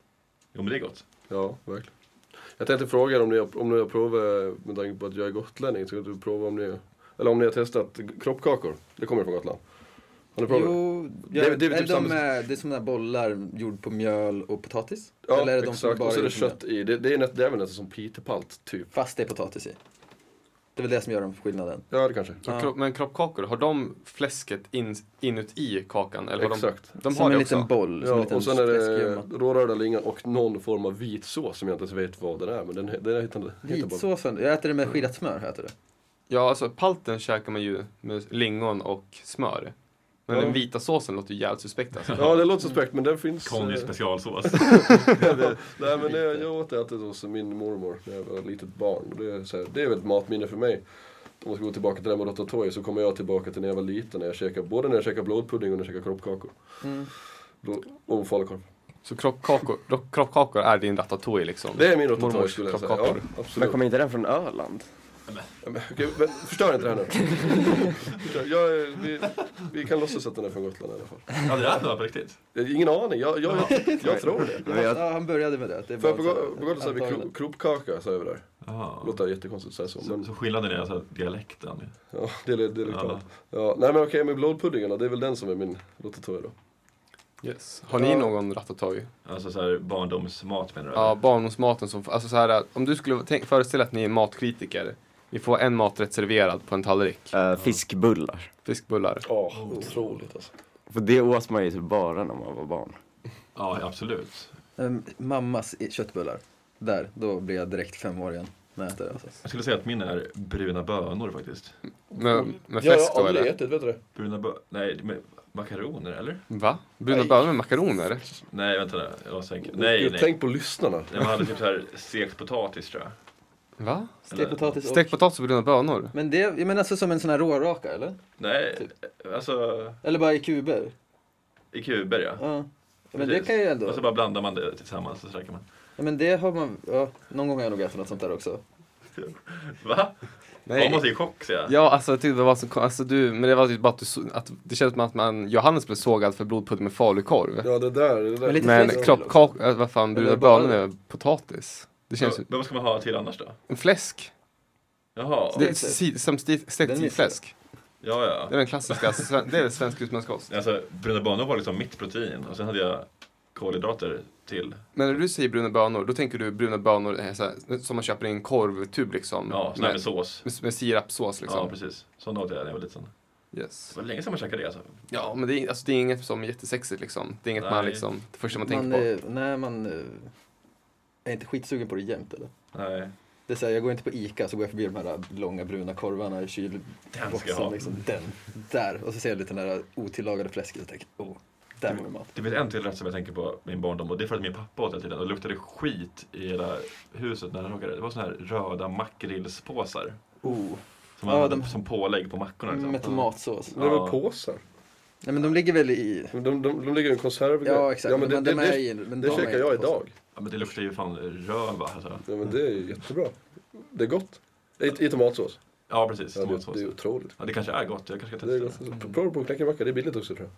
[SPEAKER 6] Jo men det är gott.
[SPEAKER 4] Ja, verkligen. Jag tänkte fråga er om ni, har- om ni har provat, med tanke på att jag är gotlänning, så kan du prova om ni, eller om ni har testat kroppkakor? Det kommer från Gotland. Har ni provat?
[SPEAKER 3] Jo,
[SPEAKER 4] Det är-
[SPEAKER 3] jag,
[SPEAKER 4] det är väl typ
[SPEAKER 3] är de,
[SPEAKER 4] samma-
[SPEAKER 3] är, det är som de här bollar gjord på mjöl och potatis?
[SPEAKER 4] Ja,
[SPEAKER 3] Eller är det de som
[SPEAKER 4] exakt. och så är det
[SPEAKER 3] gjord på mjöl?
[SPEAKER 4] kött i. Det, det, är nä, det är väl nästan som pitepalt, typ.
[SPEAKER 3] Fast det är potatis i. Det är väl det som gör dem skillnaden.
[SPEAKER 4] Ja, det kanske.
[SPEAKER 2] Och
[SPEAKER 3] Ja.
[SPEAKER 2] kro- Men kroppkakor, har de fläsket in, inuti kakan? Eller har de,
[SPEAKER 4] Exakt.
[SPEAKER 2] de har
[SPEAKER 3] som
[SPEAKER 2] det
[SPEAKER 3] en
[SPEAKER 2] också?
[SPEAKER 3] liten boll, som en
[SPEAKER 4] Ja,
[SPEAKER 3] liten
[SPEAKER 4] och sen är det
[SPEAKER 3] fläskgömma.
[SPEAKER 4] rårörda lingon och någon form av vit sås som jag inte ens vet vad den är. Men den, den heter, heter bara...
[SPEAKER 3] Vitsåsen, jag äter det med skidat smör. Jag äter det.
[SPEAKER 2] Ja, alltså palten käkar man ju med lingon och smör. Men
[SPEAKER 4] Ja.
[SPEAKER 2] den vita såsen låter ju jävligt suspekt alltså.
[SPEAKER 4] Ja, det låter suspekt men den finns.
[SPEAKER 6] Conny
[SPEAKER 4] eh,
[SPEAKER 6] specialsås.
[SPEAKER 4] Nej men det, jag åt ätit hos min mormor när jag var litet barn. Det är, så här, det är väl ett matminne för mig. Om jag ska gå tillbaka till det här med ratatouille så kommer jag tillbaka till när jag var liten. När jag käkade, både när jag käkade blodpudding och när jag käkade kroppkakor. Blod- Och falukorv.
[SPEAKER 2] Så kroppkakor, ro- kroppkakor är din ratatouille liksom?
[SPEAKER 4] Det är min ratatouille
[SPEAKER 2] Mormors
[SPEAKER 4] skulle jag säga. Ja,
[SPEAKER 2] kroppkakor.
[SPEAKER 5] Men
[SPEAKER 4] absolut.
[SPEAKER 5] kommer inte den från Öland?
[SPEAKER 4] Ja, men, okej, men, förstör inte det här nu. Förstör- jag, är- vi, vi kan låtsas att den är från Gotland i alla fall.
[SPEAKER 6] Ja det är det på riktigt.
[SPEAKER 4] Jag har Ingen aning, jag, jag, jag, jag tror det.
[SPEAKER 5] Men jag-
[SPEAKER 3] Ja, han började med det. det är
[SPEAKER 4] För
[SPEAKER 3] bara
[SPEAKER 4] på
[SPEAKER 3] så här-
[SPEAKER 4] Go- på Gotland säger vi
[SPEAKER 3] antagligen.
[SPEAKER 4] kro- kroppkaka, säger vi där.
[SPEAKER 6] Ja.
[SPEAKER 4] Låter jättekonstigt att säga så,
[SPEAKER 6] Så,
[SPEAKER 4] men
[SPEAKER 6] så skillnaden är alltså dialekten.
[SPEAKER 4] ja, det är det är ja. ja, Nej men okej, med blodpuddingen då, det är väl den som är min ratatouille då.
[SPEAKER 2] Yes. Har ni
[SPEAKER 3] Ja.
[SPEAKER 2] någon ratatouille?
[SPEAKER 6] Alltså så här barndomsmat menar du?
[SPEAKER 2] Ja,
[SPEAKER 6] eller?
[SPEAKER 2] barndomsmaten som, alltså så här, om du skulle tänk, föreställa att ni är matkritiker. Ni får en maträtt serverad på en tallrik.
[SPEAKER 5] Eh, fiskbullar.
[SPEAKER 2] Fiskbullar.
[SPEAKER 4] Ja, otroligt alltså.
[SPEAKER 5] För det åt man ju typ bara när man var barn.
[SPEAKER 6] ja absolut.
[SPEAKER 3] Ehm, Mammas i- köttbullar. Där, då blir jag direkt femårig igen när jag äter det. Alltså.
[SPEAKER 6] Jag skulle säga att min är bruna bönor faktiskt.
[SPEAKER 2] Med, med
[SPEAKER 4] jag
[SPEAKER 2] fläsk
[SPEAKER 4] har
[SPEAKER 2] då
[SPEAKER 4] aldrig
[SPEAKER 2] eller?
[SPEAKER 4] ätit, vet du det?
[SPEAKER 6] Bruna bönor, nej med makaroner eller?
[SPEAKER 2] Va? Bruna
[SPEAKER 4] Nej.
[SPEAKER 2] bönor med makaroner?
[SPEAKER 6] Nej vänta där, jag måste tänka. Nej
[SPEAKER 4] Gud,
[SPEAKER 6] nej.
[SPEAKER 4] Tänk på lyssnarna.
[SPEAKER 6] Jag hade typ så här stekt potatis tror jag.
[SPEAKER 2] Va?
[SPEAKER 3] Stekt potatis och...
[SPEAKER 2] Stekt potatis och bruna bönor?
[SPEAKER 3] Men det, jag menar alltså som en sån här råraka eller?
[SPEAKER 6] Nej, alltså
[SPEAKER 3] Eller bara i kuber?
[SPEAKER 6] i kuber ja.
[SPEAKER 3] Ja. Men det
[SPEAKER 6] Precis. Alltså-
[SPEAKER 3] kan jag ju
[SPEAKER 6] Och så
[SPEAKER 3] ändå.
[SPEAKER 6] bara blandar man det tillsammans och så käkar man.
[SPEAKER 3] Ja, men det har man, ja, någon gång har jag nog ätit något sånt där också.
[SPEAKER 6] Va? Man måste i chock säger jag.
[SPEAKER 2] Ja, alltså jag tyckte det var så kon- alltså, du, men det var typ bara att, du, så- att det kändes som att man, Johannes blev sågad för blodpudding med falukorv.
[SPEAKER 4] Ja, det där. Det där.
[SPEAKER 3] Men lite
[SPEAKER 2] Men
[SPEAKER 3] fläsk.
[SPEAKER 2] kroppkaka, äh, vad fan, bruna
[SPEAKER 3] Eller bara
[SPEAKER 2] bönor med potatis. Det känns ju,
[SPEAKER 6] Men vad ska man ha till annars då?
[SPEAKER 2] en fläsk.
[SPEAKER 6] Jaha,
[SPEAKER 2] Det är si- som sti-
[SPEAKER 3] Den
[SPEAKER 2] stekt
[SPEAKER 3] missade jag.
[SPEAKER 2] fläsk.
[SPEAKER 6] ja ja.
[SPEAKER 2] Det är den klassiska, alltså, sven- det är svensk husmanskost.
[SPEAKER 6] Alltså, bruna bönor var liksom mitt protein och sen hade jag kolhydrater till.
[SPEAKER 2] Men när du säger bruna bönor, då tänker du bruna bönor eh, så här, som man köper i en korvtub liksom?
[SPEAKER 6] Ja, sån här med
[SPEAKER 2] med,
[SPEAKER 6] sås.
[SPEAKER 2] med, med sirapssås
[SPEAKER 6] Ja,
[SPEAKER 2] liksom?
[SPEAKER 6] precis. Sån åt jag när jag var liten. Det
[SPEAKER 2] yes.
[SPEAKER 6] var länge sedan man käkade det alltså.
[SPEAKER 2] Ja, men det är, alltså, det är inget som är jättesexigt liksom. Det är inget man
[SPEAKER 6] Nej.
[SPEAKER 2] liksom, det första man,
[SPEAKER 3] Man,
[SPEAKER 2] tänker på.
[SPEAKER 3] eh, nej, man eh, är inte skitsugen på det jämt eller?
[SPEAKER 6] Nej.
[SPEAKER 3] Det är så här, jag går inte på ICA så går jag förbi de här långa bruna korvarna i
[SPEAKER 6] Den ska jag ha.
[SPEAKER 3] kylboxen. Liksom, den, där. Och så ser jag lite den där otillagade fläsket och tänker, åh, där var det mat.
[SPEAKER 6] Det finns en till rätt som jag tänker på min barndom och det är för att min pappa åt hela tiden och det luktade skit i hela huset när han råkade. Det var såna här röda makrillspåsar
[SPEAKER 4] Mm.
[SPEAKER 3] Oh,
[SPEAKER 6] som
[SPEAKER 3] Ja,
[SPEAKER 6] man använde
[SPEAKER 3] de-
[SPEAKER 6] som pålägg på mackorna. Liksom.
[SPEAKER 3] med tomatsås.
[SPEAKER 4] Det var
[SPEAKER 6] Ja.
[SPEAKER 4] påsar.
[SPEAKER 3] Nej men de ligger väl i...
[SPEAKER 4] De, de, de ligger i en konserv.
[SPEAKER 3] Ja exakt,
[SPEAKER 4] men det,
[SPEAKER 3] men de
[SPEAKER 4] det,
[SPEAKER 3] är
[SPEAKER 4] det,
[SPEAKER 3] i... Men
[SPEAKER 4] det
[SPEAKER 3] de är
[SPEAKER 4] käkar
[SPEAKER 3] i
[SPEAKER 4] jag
[SPEAKER 3] påsen.
[SPEAKER 4] idag.
[SPEAKER 6] Ja, men det luktar ju fan röva. Alltså.
[SPEAKER 4] Ja, men det är ju jättebra. Det är gott. I, i tomatsås.
[SPEAKER 6] Ja, precis.
[SPEAKER 4] Ja, det,
[SPEAKER 6] Tomatsås.
[SPEAKER 4] det är otroligt.
[SPEAKER 6] Ja, det kanske är gott. Jag kanske ska
[SPEAKER 4] Det är
[SPEAKER 6] testa det.
[SPEAKER 4] gott. Prova på en knäckemacka, det är billigt också tror jag.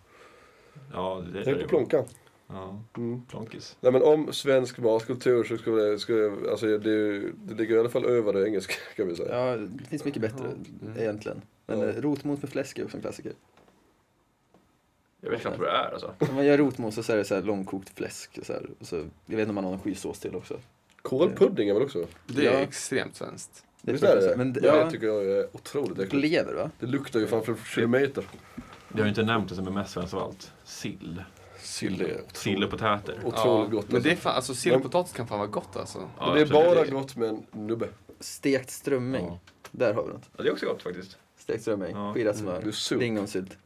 [SPEAKER 6] Ja, det är
[SPEAKER 4] Tänk
[SPEAKER 6] det.
[SPEAKER 4] på plånkan.
[SPEAKER 6] Ja,
[SPEAKER 4] Mm.
[SPEAKER 6] plonkis.
[SPEAKER 4] Nej men om svensk matkultur så skulle jag, skulle jag alltså det, är ju- det ligger i alla fall över det engelska kan vi säga.
[SPEAKER 3] Ja, det finns mycket bättre Mm. egentligen. Men
[SPEAKER 4] Ja.
[SPEAKER 3] eh, rotmos med fläsk är också en klassiker.
[SPEAKER 6] Jag vet knappt vad det är alltså.
[SPEAKER 3] Om man gör rotmos och så är det så här långkokt fläsk. Och så här, och så, jag vet inte om man har någon skysås till också.
[SPEAKER 4] Kålpudding är väl också?
[SPEAKER 2] Det är
[SPEAKER 3] Ja.
[SPEAKER 2] extremt svenskt.
[SPEAKER 3] Det
[SPEAKER 4] Visst
[SPEAKER 3] tror jag
[SPEAKER 4] är
[SPEAKER 3] också.
[SPEAKER 4] det?
[SPEAKER 3] Men
[SPEAKER 4] det
[SPEAKER 3] det-
[SPEAKER 4] ja,
[SPEAKER 3] ja.
[SPEAKER 4] det tycker jag är otroligt äckligt.
[SPEAKER 3] Lever va?
[SPEAKER 4] Det luktar ju fan för kilometer.
[SPEAKER 6] Vi har ju inte nämnt det som är mest svenskt av allt. Sill.
[SPEAKER 4] Sill är
[SPEAKER 6] Sill och potäter.
[SPEAKER 4] Mm. otroligt
[SPEAKER 2] ja.
[SPEAKER 4] gott.
[SPEAKER 2] Men
[SPEAKER 4] alltså.
[SPEAKER 2] det är fan, alltså sill och potatis kan fan vara gott alltså.
[SPEAKER 6] Ja,
[SPEAKER 4] Men det är
[SPEAKER 6] absolut.
[SPEAKER 4] bara
[SPEAKER 6] det,
[SPEAKER 4] gott med en nubbe.
[SPEAKER 3] Stekt strömming.
[SPEAKER 6] Ja.
[SPEAKER 3] Där har vi något.
[SPEAKER 6] Ja, det är också gott faktiskt.
[SPEAKER 3] Stekt strömming,
[SPEAKER 6] Ja.
[SPEAKER 3] skirat smör,
[SPEAKER 4] Det Mm. är surt.
[SPEAKER 3] lingonsylt.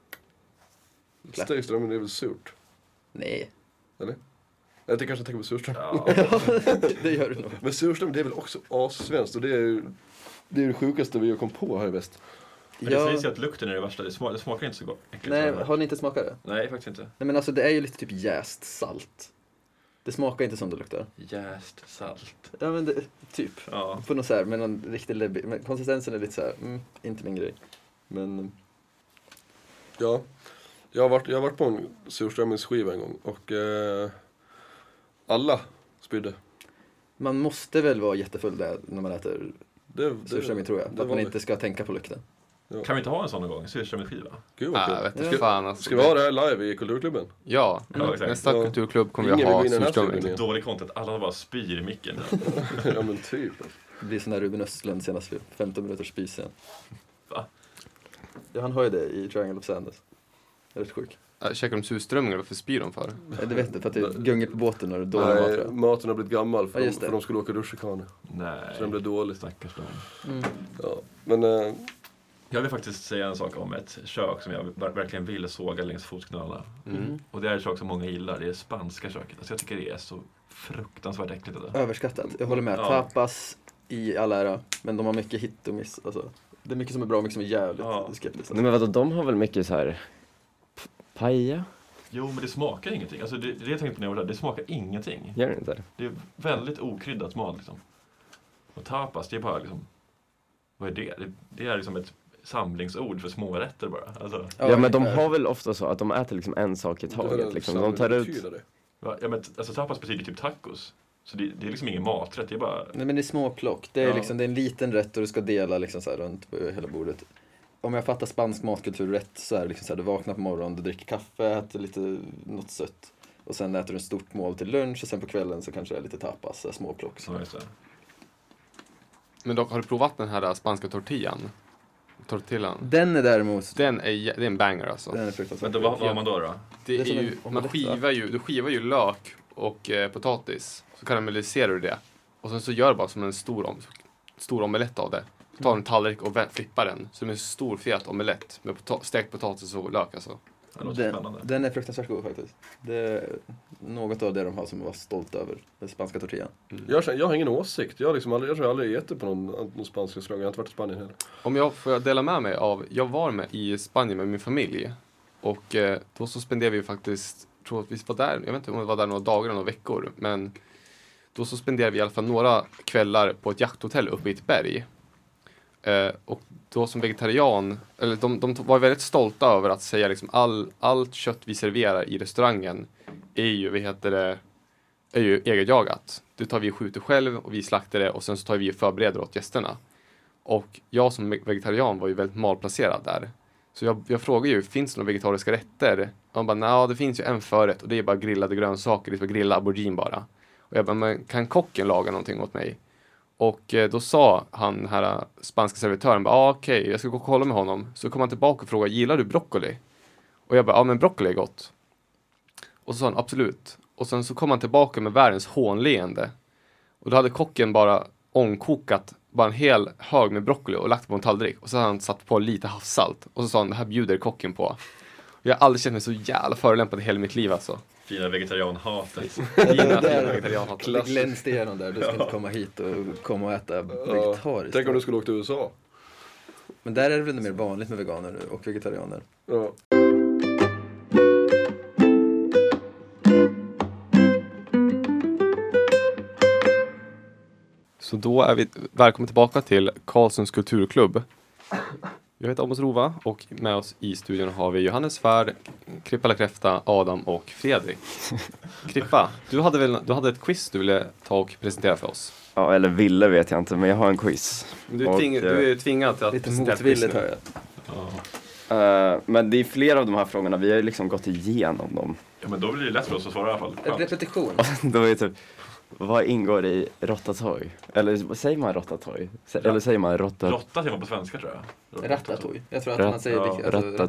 [SPEAKER 3] Platt.
[SPEAKER 4] Stegströmming är väl surt?
[SPEAKER 3] Nej,
[SPEAKER 4] Jag tänker kanske tänker på surströmming.
[SPEAKER 6] Ja.
[SPEAKER 3] det gör du nog.
[SPEAKER 4] Men surströmming det är väl också assvenskt och det är ju det, är ju det sjukaste vi kom på här i väst.
[SPEAKER 6] Men det sägs ju
[SPEAKER 3] Jag...
[SPEAKER 6] att lukten är det värsta. Det, sma- det smakar inte så gott. Äckligt,
[SPEAKER 3] Nej,
[SPEAKER 6] men-
[SPEAKER 3] har ni inte smakat det?
[SPEAKER 6] Nej, faktiskt inte.
[SPEAKER 3] Nej men alltså det är ju lite typ jäst salt. Det smakar inte som det luktar.
[SPEAKER 6] Jäst salt.
[SPEAKER 3] Ja men det, typ.
[SPEAKER 6] Ja.
[SPEAKER 3] På något så här, med någon riktig läbbig. Men konsistensen är lite så här, mm, inte min grej. Men
[SPEAKER 4] Ja. Jag har varit, jag har varit på en surströmmingsskiva en gång och eh, alla spydde.
[SPEAKER 3] man måste väl vara jättefull där när man äter
[SPEAKER 4] Det, det,
[SPEAKER 3] surströmming tror jag. För
[SPEAKER 4] det
[SPEAKER 3] att
[SPEAKER 4] var
[SPEAKER 3] man
[SPEAKER 4] vi.
[SPEAKER 3] inte ska tänka på lukten.
[SPEAKER 6] Kan vi inte ha en sån någon gång? Surströmmingsskiva?
[SPEAKER 4] Gud vad
[SPEAKER 2] Ja, jag
[SPEAKER 4] kul.
[SPEAKER 2] vet inte
[SPEAKER 3] Ja.
[SPEAKER 2] fan alltså.
[SPEAKER 4] Ska vi ha det här live i Kulturklubben?
[SPEAKER 2] Ja,
[SPEAKER 6] Ja, exakt.
[SPEAKER 2] nästa
[SPEAKER 4] Ja.
[SPEAKER 2] kulturklubb kommer vi
[SPEAKER 4] Ingen vill gå
[SPEAKER 2] ha
[SPEAKER 4] in i den här
[SPEAKER 2] surströmming.
[SPEAKER 4] studion
[SPEAKER 6] Dålig content, alla bara spyr i micken.
[SPEAKER 4] igen. ja men typ.
[SPEAKER 3] Det blir sån där Ruben Östlund senast för 15 minuters spisen.
[SPEAKER 6] Va?
[SPEAKER 3] Ja, han har ju det i Triangle of Sanders. Jag är rätt sjuk.
[SPEAKER 2] Äh, Käkar de surströmming eller varför spyr de för?
[SPEAKER 3] Ja, du vet inte, för att det gungor på båten och det är dålig mat.
[SPEAKER 4] Nej,
[SPEAKER 3] tror
[SPEAKER 4] maten har blivit gammal för,
[SPEAKER 3] Ja,
[SPEAKER 4] de,
[SPEAKER 3] just det.
[SPEAKER 4] för de skulle åka rutschkana.
[SPEAKER 6] Nej,
[SPEAKER 4] Så den blev dålig.
[SPEAKER 6] stackars dem.
[SPEAKER 3] jag. Mm.
[SPEAKER 4] Ja. Men eh,
[SPEAKER 6] Jag vill faktiskt säga en sak om ett kök som jag ver- verkligen vill såga längs fotknölarna.
[SPEAKER 2] Mm.
[SPEAKER 6] Och det är ett kök som många gillar, det är det spanska köket. Alltså jag tycker det är så fruktansvärt äckligt. Alltså.
[SPEAKER 3] Överskattat, jag håller med.
[SPEAKER 6] Ja.
[SPEAKER 3] Tapas i all ära, men de har mycket hit och miss. Alltså. Det är mycket som är bra och mycket som är jävligt
[SPEAKER 6] Ja.
[SPEAKER 3] skeptiskt.
[SPEAKER 5] Nej men vadå, de har väl mycket så här p- paella?
[SPEAKER 6] Jo, men det smakar ingenting. Alltså det, det jag tänkte på när jag var där, det smakar ingenting.
[SPEAKER 5] Gör det inte?
[SPEAKER 6] Det är väldigt okryddat mat liksom. Och tapas, det är bara liksom... Vad är det? Det, det är liksom ett samlingsord för smårätter bara. Alltså,
[SPEAKER 5] Ja, men de har väl ofta så att de äter liksom en sak i
[SPEAKER 4] det
[SPEAKER 5] taget liksom. De
[SPEAKER 4] samlar-
[SPEAKER 5] tar ut,
[SPEAKER 4] betyder det.
[SPEAKER 6] va? ja, men, t- alltså tapas betyder typ tacos. Så det, det är liksom ingen maträtt, det är bara...
[SPEAKER 3] Nej men det är småplock. Det är,
[SPEAKER 6] Ja.
[SPEAKER 3] liksom, det är en liten rätt och du ska dela liksom så här runt på hela bordet. Om jag fattar spansk matkultur rätt så är det liksom så här, du vaknar på morgonen, du dricker kaffe, äter lite något sött. Och sen äter du ett stort mål till lunch och sen på kvällen så kanske det är lite tapas, så här, småplock.
[SPEAKER 6] Ja, just det.
[SPEAKER 2] Men dock, har du provat den här äh, spanska tortillan? Tortillan?
[SPEAKER 3] Den är däremot,
[SPEAKER 2] Den är, jä- det är en banger alltså.
[SPEAKER 3] den är
[SPEAKER 6] Men
[SPEAKER 3] fruktansvärt.
[SPEAKER 6] då, vad, vad har man då? då?
[SPEAKER 2] Det
[SPEAKER 3] Det är
[SPEAKER 2] är
[SPEAKER 3] som
[SPEAKER 2] ju,
[SPEAKER 3] en
[SPEAKER 2] man
[SPEAKER 3] omelett,
[SPEAKER 2] skivar ju, du skivar ju lök och eh, potatis, så karamelliserar du det. Och sen så gör du bara som en stor, om, stor omelett av det. Du tar en tallrik och vä- flippar den, som en stor fet omelett med pota- stekt potatis och lök alltså.
[SPEAKER 6] Det låter
[SPEAKER 3] Den,
[SPEAKER 6] spännande.
[SPEAKER 3] den är fruktansvärt god faktiskt. Det är något av det de har som jag var stolt över, den spanska tortillan.
[SPEAKER 4] Jag, känner, jag har ingen åsikt. Jag, har liksom aldrig, jag tror jag aldrig ätit på någon, någon spansk restaurang. Jag har inte varit i Spanien heller.
[SPEAKER 2] Om jag får jag dela med mig av, jag var med i Spanien med min familj och eh, då så spenderade vi faktiskt, tror att vi var där, jag vet inte om vi var där några dagar eller några veckor, men då så spenderade vi i alla fall några kvällar på ett jakthotell uppe i ett berg. Eh, och då som vegetarian, eller de, de var väldigt stolta över att säga liksom all, allt kött vi serverar i restaurangen är ju, vad heter det, är ju egenjagat. Det tar vi och skjuter själv och vi slaktar det och sen så tar vi och förbereder åt gästerna. Och jag som vegetarian var ju väldigt malplacerad där. Så jag, jag frågade ju, finns det några vegetariska rätter? Och de bara, nej det finns ju en förrätt och det är bara grillade grönsaker, det är bara grilla aubergine bara. Och jag bara, men kan kocken laga någonting åt mig? Och eh, då sa han, den här eh, spanska servitören, bara, ah, okej, jag ska gå och kolla med honom. Så kom han tillbaka och frågade, gillar du broccoli? Och jag bara, ja men broccoli är gott. Och så sa han, absolut. Och sen så kom han tillbaka med världens hånleende. Och då hade kocken bara ångkokat bara en hel hög med broccoli och lagt på en tallrik. Och så har han satt på lite havssalt. Och så sa han, det här bjuder kocken på. Jag har aldrig känt mig så jävla förolämpad i hela mitt liv alltså.
[SPEAKER 6] Fina vegetarianhatet.
[SPEAKER 2] Fina, fina
[SPEAKER 3] där-
[SPEAKER 2] vegetarianhat.
[SPEAKER 3] Det glänste igenom där, du ska inte komma hit och komma och äta
[SPEAKER 4] Ja,
[SPEAKER 3] vegetariskt.
[SPEAKER 4] tänk om du skulle åka till USA.
[SPEAKER 3] Men där är det väl mer vanligt med veganer och vegetarianer.
[SPEAKER 4] Ja.
[SPEAKER 2] Så då är vi välkomna tillbaka till Karlssons kulturklubb. Jag heter Amos Rova och med oss i studion har vi Johannes Färd, Krippa La Kräfta, Adam och Fredrik. Krippa, du hade, väl, du hade ett quiz du ville ta och presentera för oss.
[SPEAKER 5] Ja, eller ville vet jag inte, men jag har en quiz.
[SPEAKER 2] Du,
[SPEAKER 5] Och,
[SPEAKER 2] tving,
[SPEAKER 5] eh,
[SPEAKER 2] du är tvingad till att
[SPEAKER 3] Lite
[SPEAKER 2] presentera ett quiz
[SPEAKER 3] motvilligt
[SPEAKER 2] nu.
[SPEAKER 3] hör jag.
[SPEAKER 6] Ja.
[SPEAKER 5] Eh, men det är flera av de här frågorna, vi har ju liksom gått igenom dem.
[SPEAKER 6] ja, men då blir det lätt för oss att svara i alla fall.
[SPEAKER 3] En
[SPEAKER 6] Skönt.
[SPEAKER 3] repetition.
[SPEAKER 5] Det var ju typ, vad ingår i rotatouille? Eller säger man rotatouille? Sä- Eller säger man rotta,
[SPEAKER 6] Råtta säger man på svenska tror jag.
[SPEAKER 3] Ratatouille. Jag tror att
[SPEAKER 5] Rat-
[SPEAKER 3] man säger
[SPEAKER 6] ja,
[SPEAKER 3] vilka- alltså,
[SPEAKER 5] ratat-
[SPEAKER 3] ratatouille.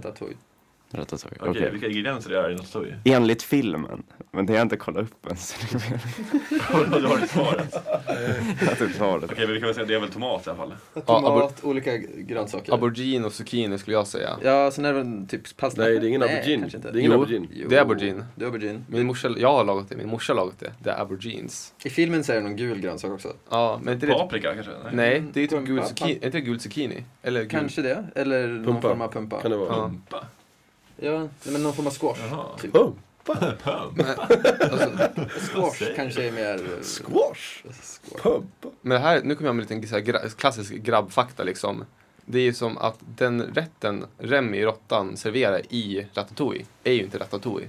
[SPEAKER 5] rotatouille?
[SPEAKER 6] Okej,
[SPEAKER 5] Okej.
[SPEAKER 6] vilka ingredienser det är i en ratatouille?
[SPEAKER 5] Enligt filmen, men det har jag inte kollat upp ens.
[SPEAKER 6] du har det svaret. Okej,
[SPEAKER 5] jag har typ svaret.
[SPEAKER 6] men vi kan väl säga att det är väl tomat i alla fall.
[SPEAKER 3] Tomat, olika grönsaker.
[SPEAKER 2] Aubergine och zucchini skulle jag säga.
[SPEAKER 3] ja, sen är det väl typ pasta.
[SPEAKER 4] Nej, det är ingen aubergine.
[SPEAKER 3] kanske inte.
[SPEAKER 4] Det är ingen
[SPEAKER 2] Jo.
[SPEAKER 4] aubergine.
[SPEAKER 3] Jo,
[SPEAKER 2] Det är aubergine.
[SPEAKER 3] Det är aubergine.
[SPEAKER 2] Min morsa, jag har lagat det, min morsa har lagat det. Det är aubergines.
[SPEAKER 3] I filmen så är det någon gul grönsak också.
[SPEAKER 2] Ja, men inte det...
[SPEAKER 6] Paprika kanske? Nej.
[SPEAKER 2] Nej, det är typ
[SPEAKER 3] Pumpa.
[SPEAKER 2] gul zucchini. Är inte det gul zucchini? Eller gul...
[SPEAKER 3] Kanske det, eller någon
[SPEAKER 4] Pumpa.
[SPEAKER 3] form av pumpa.
[SPEAKER 4] Kan det vara?
[SPEAKER 2] Ja.
[SPEAKER 6] Pumpa.
[SPEAKER 3] Ja, nej, men någon form av squash.
[SPEAKER 6] Jaha.
[SPEAKER 3] Typ.
[SPEAKER 4] Oh,
[SPEAKER 2] Alltså,
[SPEAKER 3] Squash kanske är mer...
[SPEAKER 4] squash!
[SPEAKER 3] Squash.
[SPEAKER 4] Pumpa!
[SPEAKER 2] Men här, nu kommer jag med en liten så här, gra- klassisk grabbfakta liksom. Det är ju som att den rätten Remi, råttan, serverar i Ratatouille är ju inte Ratatouille.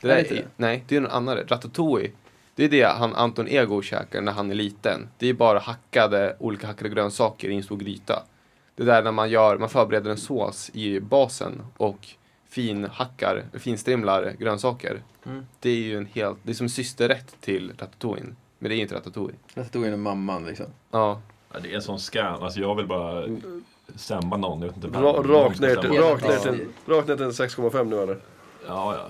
[SPEAKER 2] Det
[SPEAKER 3] Är
[SPEAKER 2] där
[SPEAKER 3] det inte
[SPEAKER 2] är,
[SPEAKER 3] det?
[SPEAKER 2] nej, det är någon annan rätt. Ratatouille, det är det han Anton Ego käkar när han är liten. Det är bara hackade, olika hackade grönsaker i en stor gryta. Det där när man gör, man förbereder en sås i basen och finhackar, finstrimlar grönsaker.
[SPEAKER 3] Mm.
[SPEAKER 2] Det är ju en helt, det är som en systerrätt till Ratatouille. Men det är ju inte Ratatouille.
[SPEAKER 3] Ratatouille är mamman liksom.
[SPEAKER 2] Ja.
[SPEAKER 6] Ja, det är en sån scan. Alltså jag vill bara stämma någon. Jag vet inte vem.
[SPEAKER 4] Ra, rakt ner till,
[SPEAKER 6] Ja,
[SPEAKER 4] rakt ner till, rakt ner till en 6,5 nu eller?
[SPEAKER 6] ja.